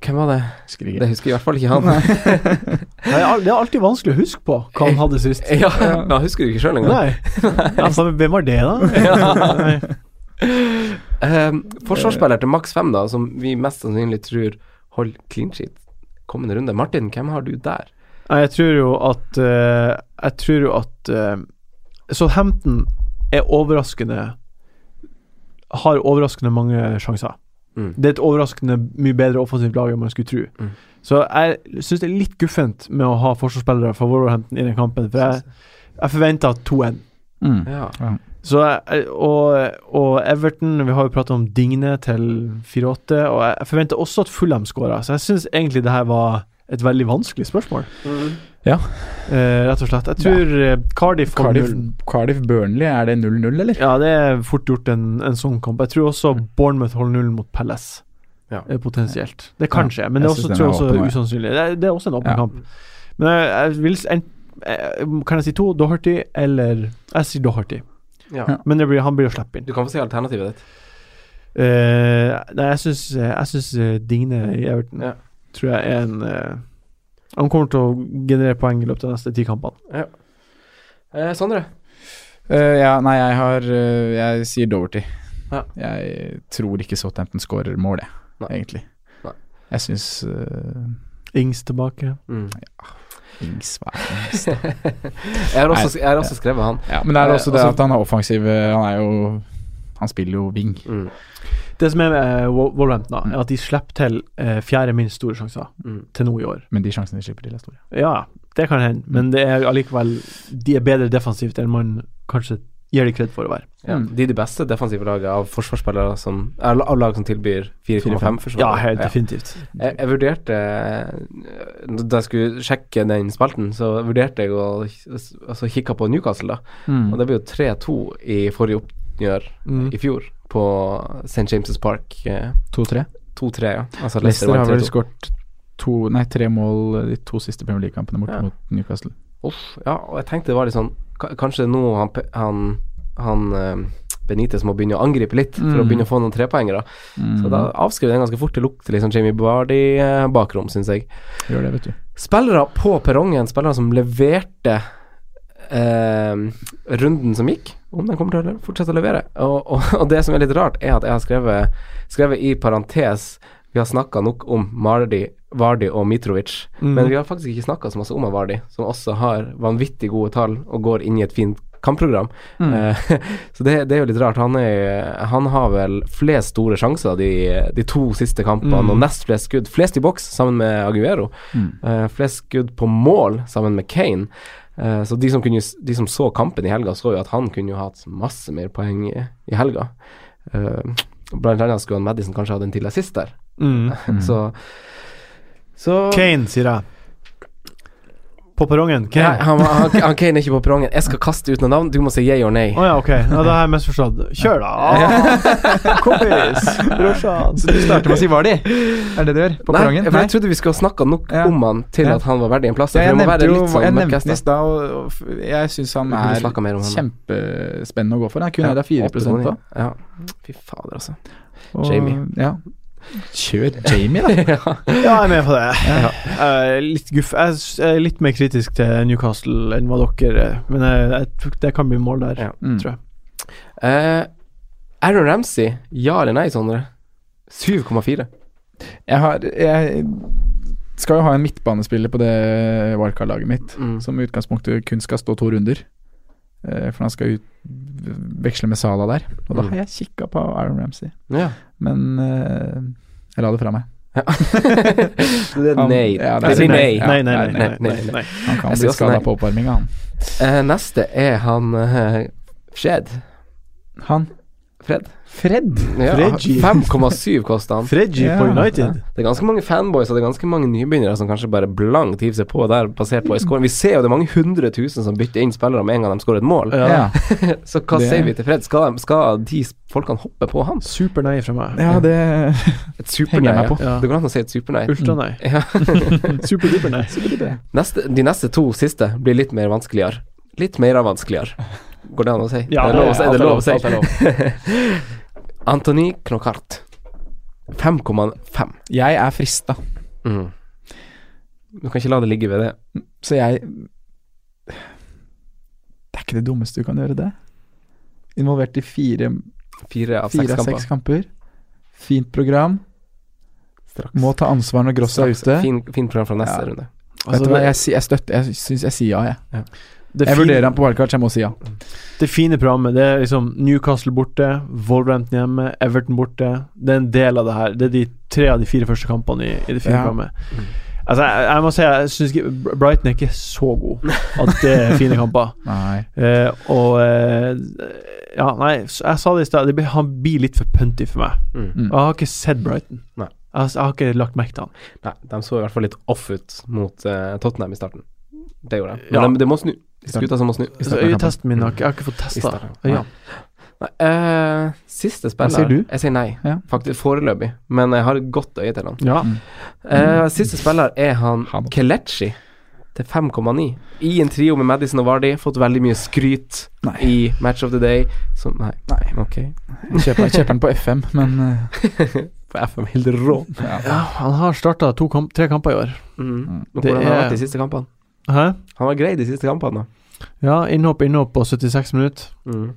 Hvem var det? Husker Det ikke. husker i hvert fall ikke han. Det er al- det er alltid vanskelig å huske på hva han hadde sist. ja, ja, husker du ikke sjøl engang? Nei. Altså, hvem var det, da? Ja. Eh, forsvarsspiller til maks fem, da, som vi mest sannsynlig tror holder clean sheet kommende runde. Martin, hvem har du der? Nei, Jeg tror jo at eh, Jeg tror jo at uh, Southampton er overraskende Har overraskende mange sjanser. Mm. Det er et overraskende mye bedre offensivt lag enn man skulle tro. Mm. Så jeg syns det er litt guffent med å ha forsvarsspillere fra Wolverhampton i den kampen, for jeg, jeg forventa 2-1. Mm. Ja. Så jeg, og, og Everton Vi har jo pratet om Digne til 4-8, og jeg forventer også at Fulham skåra. Så jeg syns egentlig det her var et veldig vanskelig spørsmål. Ja. Eh, rett og slett. Jeg tror eh, Cardiff får Cardiff, nullen. Cardiff Burnley, er det 0-0, eller? Ja, det er fort gjort en, en sånn kamp. Jeg tror også Bournemouth holder nullen mot Palace. Ja. Eh, Potensielt. Det kan Ja, skje, men jeg det er også, synes den er tror jeg også åpen, ja. usannsynlig. Det er, det er også en åpen Ja. kamp. Men jeg, jeg vil s- en, eh, Kan jeg si to? Doherty eller Jeg sier Doherty, Ja. Ja. men det blir, han blir å slippe inn. Du kan få si alternativet ditt. Eh, nei, jeg syns, jeg syns eh, Digne i Everton Ja. tror jeg er en eh, Han kommer til å generere poeng i løpet av de neste ti kampene. Eh, Sondre? Eh, ja, nei, jeg har eh, Jeg sier Doverty. Ja. Jeg tror ikke Southampton skårer mål, jeg, Nei. egentlig. Nei. Jeg syns Ings tilbake. Mm. Ings var Jeg har også, jeg har også skrevet han. ja, Men det er Eh, også det altså- at han er offensiv. eh, Han er jo Han spiller jo wing. Mm. Det som er med eh, Wol- Wolverhampton, da, er at de slipper til eh, fjerde minst store sjanser Mm. til nå i år. Men de sjansene de slipper til, er store. Ja, det kan hende, Mm. men det er allikevel De er bedre defensivt enn man kanskje gir de kred for å være. Ja. De er de beste defensive laget av forsvarsspillere som eller Av lag som tilbyr 4,5 forsvar. Ja, helt definitivt. Jeg, jeg vurderte eh, Da jeg skulle sjekke den spalten, så vurderte jeg å altså, kikke på Newcastle, da. Mm. Og det ble jo 3-2 i forrige oppgjør Mm. i fjor på St. James' Park. eh, 2-3. 2-3, ja. Altså Leicester Leicester har vant vel 3-2. skåret to, nei, tre mål eh, de to siste Premier League-kampene bort Ja. mot Newcastle. Uff, ja, og jeg tenkte det var litt sånn ka- Kanskje nå han, pe- han, han eh, Benitez må begynne å angripe litt for å Mm. begynne å få noen trepoengere. Mm. Så da avskrev jeg den ganske fort. Det lukter litt sånn Jamie Bardi-bakrom, syns jeg. Gjør det, vet du. Spillere på perrongen, spillere som leverte eh, runden som gikk, om den kommer til å le- fortsette å levere. Og, og, og det som er litt rart, er at jeg har skrevet, skrevet i parentes Vi har snakka nok om Mardi, Vardi og Mitrovic, men vi har faktisk ikke snakka så masse om Vardi, som også har vanvittig gode tall og går inn i et fint kampprogram. Eh, så det, det er jo litt rart. Han, er, han har vel flest store sjanser de, de to siste kampene, og nest flest skudd. Flest i boks, sammen med Aguero. Eh, flest skudd på mål sammen med Kane. Eh, så de som, kunne, de som så kampen i helga, så jo at han kunne jo hatt masse mer poeng i, i helga. Eh, blant annet skulle han Madison kanskje hatt en til assist der. Mm. Så, så Kane, sier jeg. På perrongen? Hvem? Nei, han, var- han, han Kane er ikke på perrongen. Jeg skal kaste ut noen navn, du må si yeah or nay. Å ja, ok. Ja, da har jeg misforstått. Kjør, da! Kompis! Brorsan. Så du starter med å si var de? Er det det du gjør? På perrongen? for jeg trodde vi skulle snakke nok Ja. om han til Ja. at han var verdig en plass. Ja, for jeg det må nevnte være jo litt sånn Jeg nevnte den i mørkest, da. stad, og- og f- jeg syns han Vi kunne er snakket mer om han. kjempespennende å gå for. Han kunne da 4 på. Ja. Fy fader, altså. Og- Jamie. Ja. Kjør Jamie, da. Ja, jeg er med på det. Eh, litt guff. Jeg s- jeg er litt mer kritisk til Newcastle enn hva dere er, men jeg, jeg tror det kan bli mål der, Ja. Mm. tror jeg. Eh, Aaron Ramsey, ja eller nei, Sondre? 7,4. Jeg, har, jeg skal jo ha en midtbanespiller på det wildcard-laget mitt, Mm. som i utgangspunktet kun skal stå to runder. Eh, For han skal ut, veksle med Sala der. Og da Mm. har jeg kikka på Aaron Ramsey, Ja. men eh, jeg la det fra meg. Så det er Han- nei. ja, det nei. blir nei. Nei, nei, nei. Nei, nei, nei, nei, nei. nei. Han kan Jeg bli sier også nei. skada på oppvarminga, han. Eh, neste er han eh, Fred. Han Fred? Fred! Ja, Fredgy. 5,7 koster han. Fredgy på Ja. United. Det er ganske mange fanboys og det er ganske mange nybegynnere som kanskje bare blankt hiver seg på der, basert på en scoring. Vi ser jo det er mange hundre tusen som bytter inn spillere med en gang de skårer et mål. Ja. Ja. Så hva Det- sier vi til Fred? Skal de, skal de s- folkene hoppe på han? Super nei fra meg. det Et Henger supernei? jeg meg Ja. på. Ja. Det går an å si et supernei. Ultra nei. Ja. Superduper nei. Neste, de neste to siste blir litt mer vanskeligere. Litt mer vanskeligere, går det an å si? Ja, det er lov å si. alt Det er er lov å lov, alt er si. Antony Knokart. 5,5. Jeg er frista, Mm. Du kan ikke la det ligge ved det. så jeg Det er ikke det dummeste du kan gjøre, det. Involvert i fire Fire av fire seks av kamper. seks kamper. Fint program. Straks. Må ta ansvar når Gross er Straks. ute. Fin, fint program fra neste Ja. runde. Vet Altså, du hva, det- jeg, si- jeg støtter Jeg syns jeg sier ja, jeg. Det Jeg fine- vurderer han på wildcard, så jeg må si ja. Det fine programmet det er liksom Newcastle borte, Wolverhampton hjemme, Everton borte. Det er en del av det her. Det er de tre av de fire første kampene i, i det fine Ja. programmet. Altså, jeg, jeg må si jeg synes ikke Br- Brighton er ikke så god at det er fine kamper. Nei. Eh, og eh, Ja, nei, s- jeg sa det i stad. det blir- Han blir litt for punty for meg. Mm. Og Jeg har ikke sett Brighton. Nei. Jeg, har- jeg har ikke lagt merke til han. Nei, de så i hvert fall litt off ut mot eh, Tottenham i starten. Det gjorde de. Men Ja. de- det må snu. Skuta som må snu. Så av kampen. Øyetesten min har ikke, jeg har ikke fått I testa. starten. Ja. Nei, eh, siste spiller sier du? Jeg sier nei, Ja. faktisk. Foreløpig. Men jeg har et godt øye til han. Ja. Eh, siste spiller er han Han. Kelechi til 5,9. I en trio med Madison og Vardy. Fått veldig mye skryt Nei. i Match of the Day. Som, nei. Nei. Ok. Jeg kjøper, jeg kjøper den på FM, men eh, For FM er helt rå. ja. ja, han har starta kamp, tre kamper i år. Mm. Det Hvordan har han er- vært de siste kampene? Hæ? Han var grei de siste kampene. Ja, innhopp, innhopp på 76 minutter. da. Mm.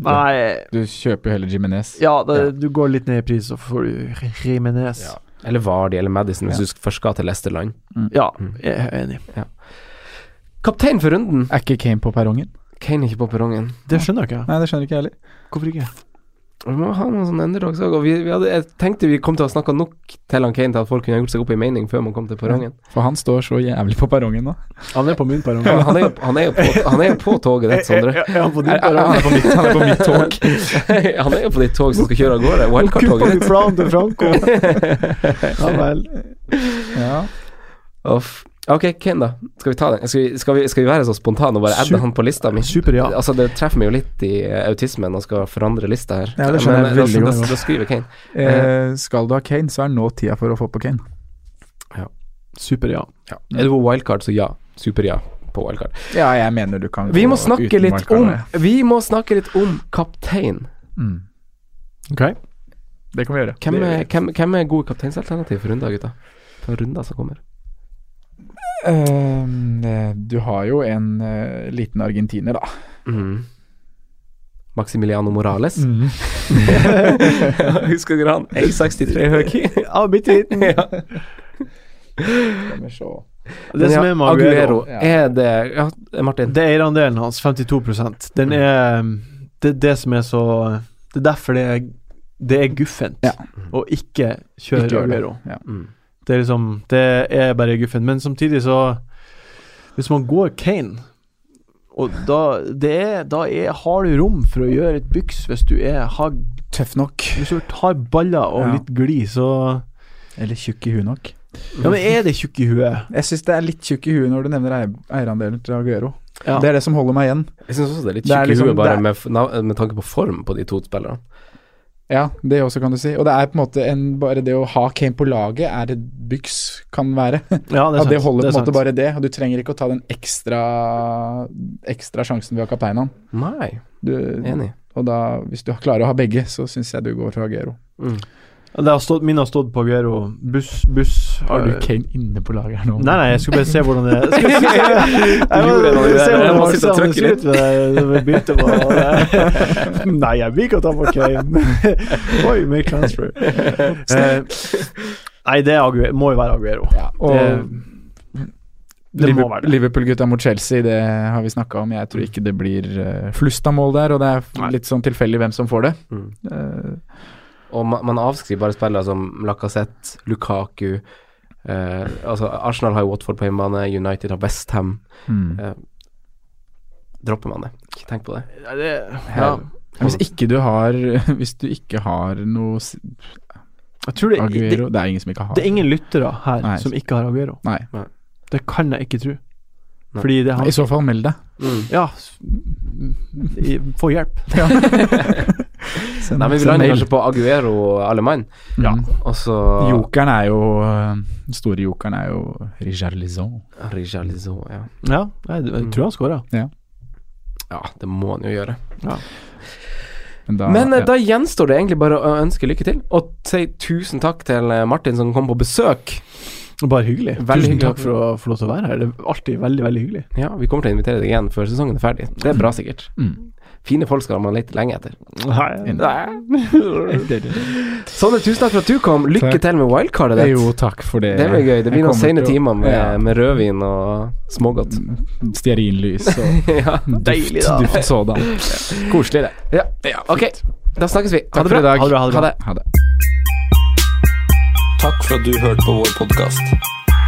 Nei, Du kjøper jo heller Jimenez. ja, det, du går litt ned i pris, så får du Jimenez. Ja. Eller Vardy eller Madison, hvis Ja. du først skal til Lesterland. Ja, jeg er enig. Kaptein for runden! Er ikke Kane på perrongen? Kane er ikke på perrongen. Det skjønner jeg ikke. Nei, det skjønner ikke jeg heller. Hvorfor ikke? Vi må ha noen sånne underdogs òg. Og vi, vi hadde, jeg tenkte vi kom til å snakke nok til han Kane til at folk kunne gjort seg opp i mening før man kom til perrongen. For han står så jævlig på perrongen nå. Han er på min perrong. Men Han er jo- han er jo på, han er jo på toget ditt, Sondre. Er han på din Er- er- Han perrong? er på mitt, han er på mitt tog. Han er jo på ditt tog som skal kjøre av gårde. Kuppa Wildcard-toget du ditt. planen til Franco? Ja vel. Ja. Uff. Ok, Kane, da. Skal vi ta den? Skal vi, skal vi, skal vi være så spontane og bare adde han på lista mi? Super, ja. Altså, det treffer meg jo litt i eh, autismen og skal forandre lista her. Ja, det skjønner jeg Men, eh, veldig da- godt. Da, da skriver Kane. Eh, skal du ha Kane, så er nå tida for å få på Kane. Super, ja. Mm. Er du på wildcard, så ja. Super-ja på wildcard. Ja, jeg mener du kan Vi gå må snakke uten litt wildcard, om ja. Vi må snakke litt om kaptein. Mm. Ok. Det kan vi gjøre. Hvem Det gjør er, vi. hvem, hvem er gode kapteinsalternativ for runder, gutta? For runder som kommer. Ehm, eh, du har jo en eh, liten argentiner, da. Mm. Maximiliano Morales. Mm. Mm. Husker dere han? A63 Høki. Ja, bitte liten. Skal vi se. Det som er med Aguero, ja. Er det ja, Martin. det er eierandelen hans, 52 Den er um, Det er det som er så Det er derfor det er, det er guffent Ja. å ikke Ikke kjøre gjør det. Aguero. Ja. Mm. Det er liksom Det er bare guffen. Men samtidig så Hvis man går Kane og da, det er, da er, har du rom for å gjøre et byks hvis du er har, Tøff nok. Hvis du har baller og Ja. litt glid, så Eller tjukk i huet nok. Ja, men er det tjukk i huet? Jeg syns det er lilitt tjukk i huet når du nevner eier- eierandelen til Aguero. Ja. Det er det som holder meg igjen. Jeg syns også det er litt Det er tjukk i liksom- huet, bare det er- med, f- nav- med tanke på form på de to spillerne. Ja, det også kan du si. Og det er på en måte en, bare det å ha Kane på laget er et byks kan være. Ja, Det, det holder på en sant. måte bare det. Og du trenger ikke å ta den ekstra, ekstra sjansen ved å kapteine han. Nei, Du, enig. og da, hvis du klarer å ha begge, så syns jeg du går for Aguero. Ja, Det har stått, min har stått på Aguero. Buss, buss øh, Kane inne på laget her nå? Nei, nei, jeg skulle bare se hvordan det Jeg skulle se, jeg, gjorde noe i det. Jeg se hvordan må det sitte og ser trykke ut litt. ved det- det vi begynte på. Nei, jeg vil ikke ta på Kane. Oi, make transfer. Eh, nei, det er Aguero, må jo være Aguero. og Det må Liverpool- være det. Liverpool-gutta mot Chelsea, det har vi snakka om. Jeg Mm. tror ikke det blir eh, flust av mål der, og det er Nei. litt sånn tilfeldig hvem som får det. Mm. Eh, Og man, man avskriver bare spillere som Lacassette, Lukaku eh, Altså, Arsenal har jo Watford på hjemmebane, United har Westham. Mm. Dropper man det? Ikke tenk på det. Ja, det Ja. ja. Men Hvis ikke du har Hvis du ikke har noe s- Jeg tror det, det, Aguero Det er ingen som ikke har det er ingen lyttere her Nei. som ikke har Aguero. Nei. Det kan jeg ikke tro. Nei. Fordi det har I så fall meld deg. Ja, s- i- få hjelp. Send- Nei, men vi send lander mail. kanskje på Aguero og alle mann, Ja. og så Jokeren er jo øh, Den store jokeren er jo Richard Lison. Richarlison, ja. Ja, jeg, jeg tror han skåra. ja, det må han jo gjøre. Men da, Men eh, ja. da gjenstår det egentlig bare å ønske lykke til, og si tusen takk til eh, Martin som kom på besøk. Bare hyggelig. Veldig Tusen hyggelig. takk for å få lov til å være her. Det er alltid veldig, veldig hyggelig. Ja, vi kommer til å invitere deg igjen før sesongen er ferdig. Det er bra, sikkert. Mm. Fine folk skal man lete lenge etter. Det- det- Sånne, tusen takk for at du kom. Lykke Takk. til med wildcardet ditt. Jo, takk for det. Det blir gøy. Det Jeg blir noen kommer sene til å- timer med, ja, Mm. med rødvin og smågodt. Stearinlys og ja. duft, duft sådan. Koselig, det. Ja. Ok, da snakkes vi. Ha Takk det for i bra. dag. Ha det bra, ha det bra. Ha det. Takk for at du hørte på vår podkast.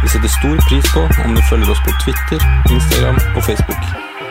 Vi setter stor pris på om du følger oss på Twitter, Instagram og Facebook.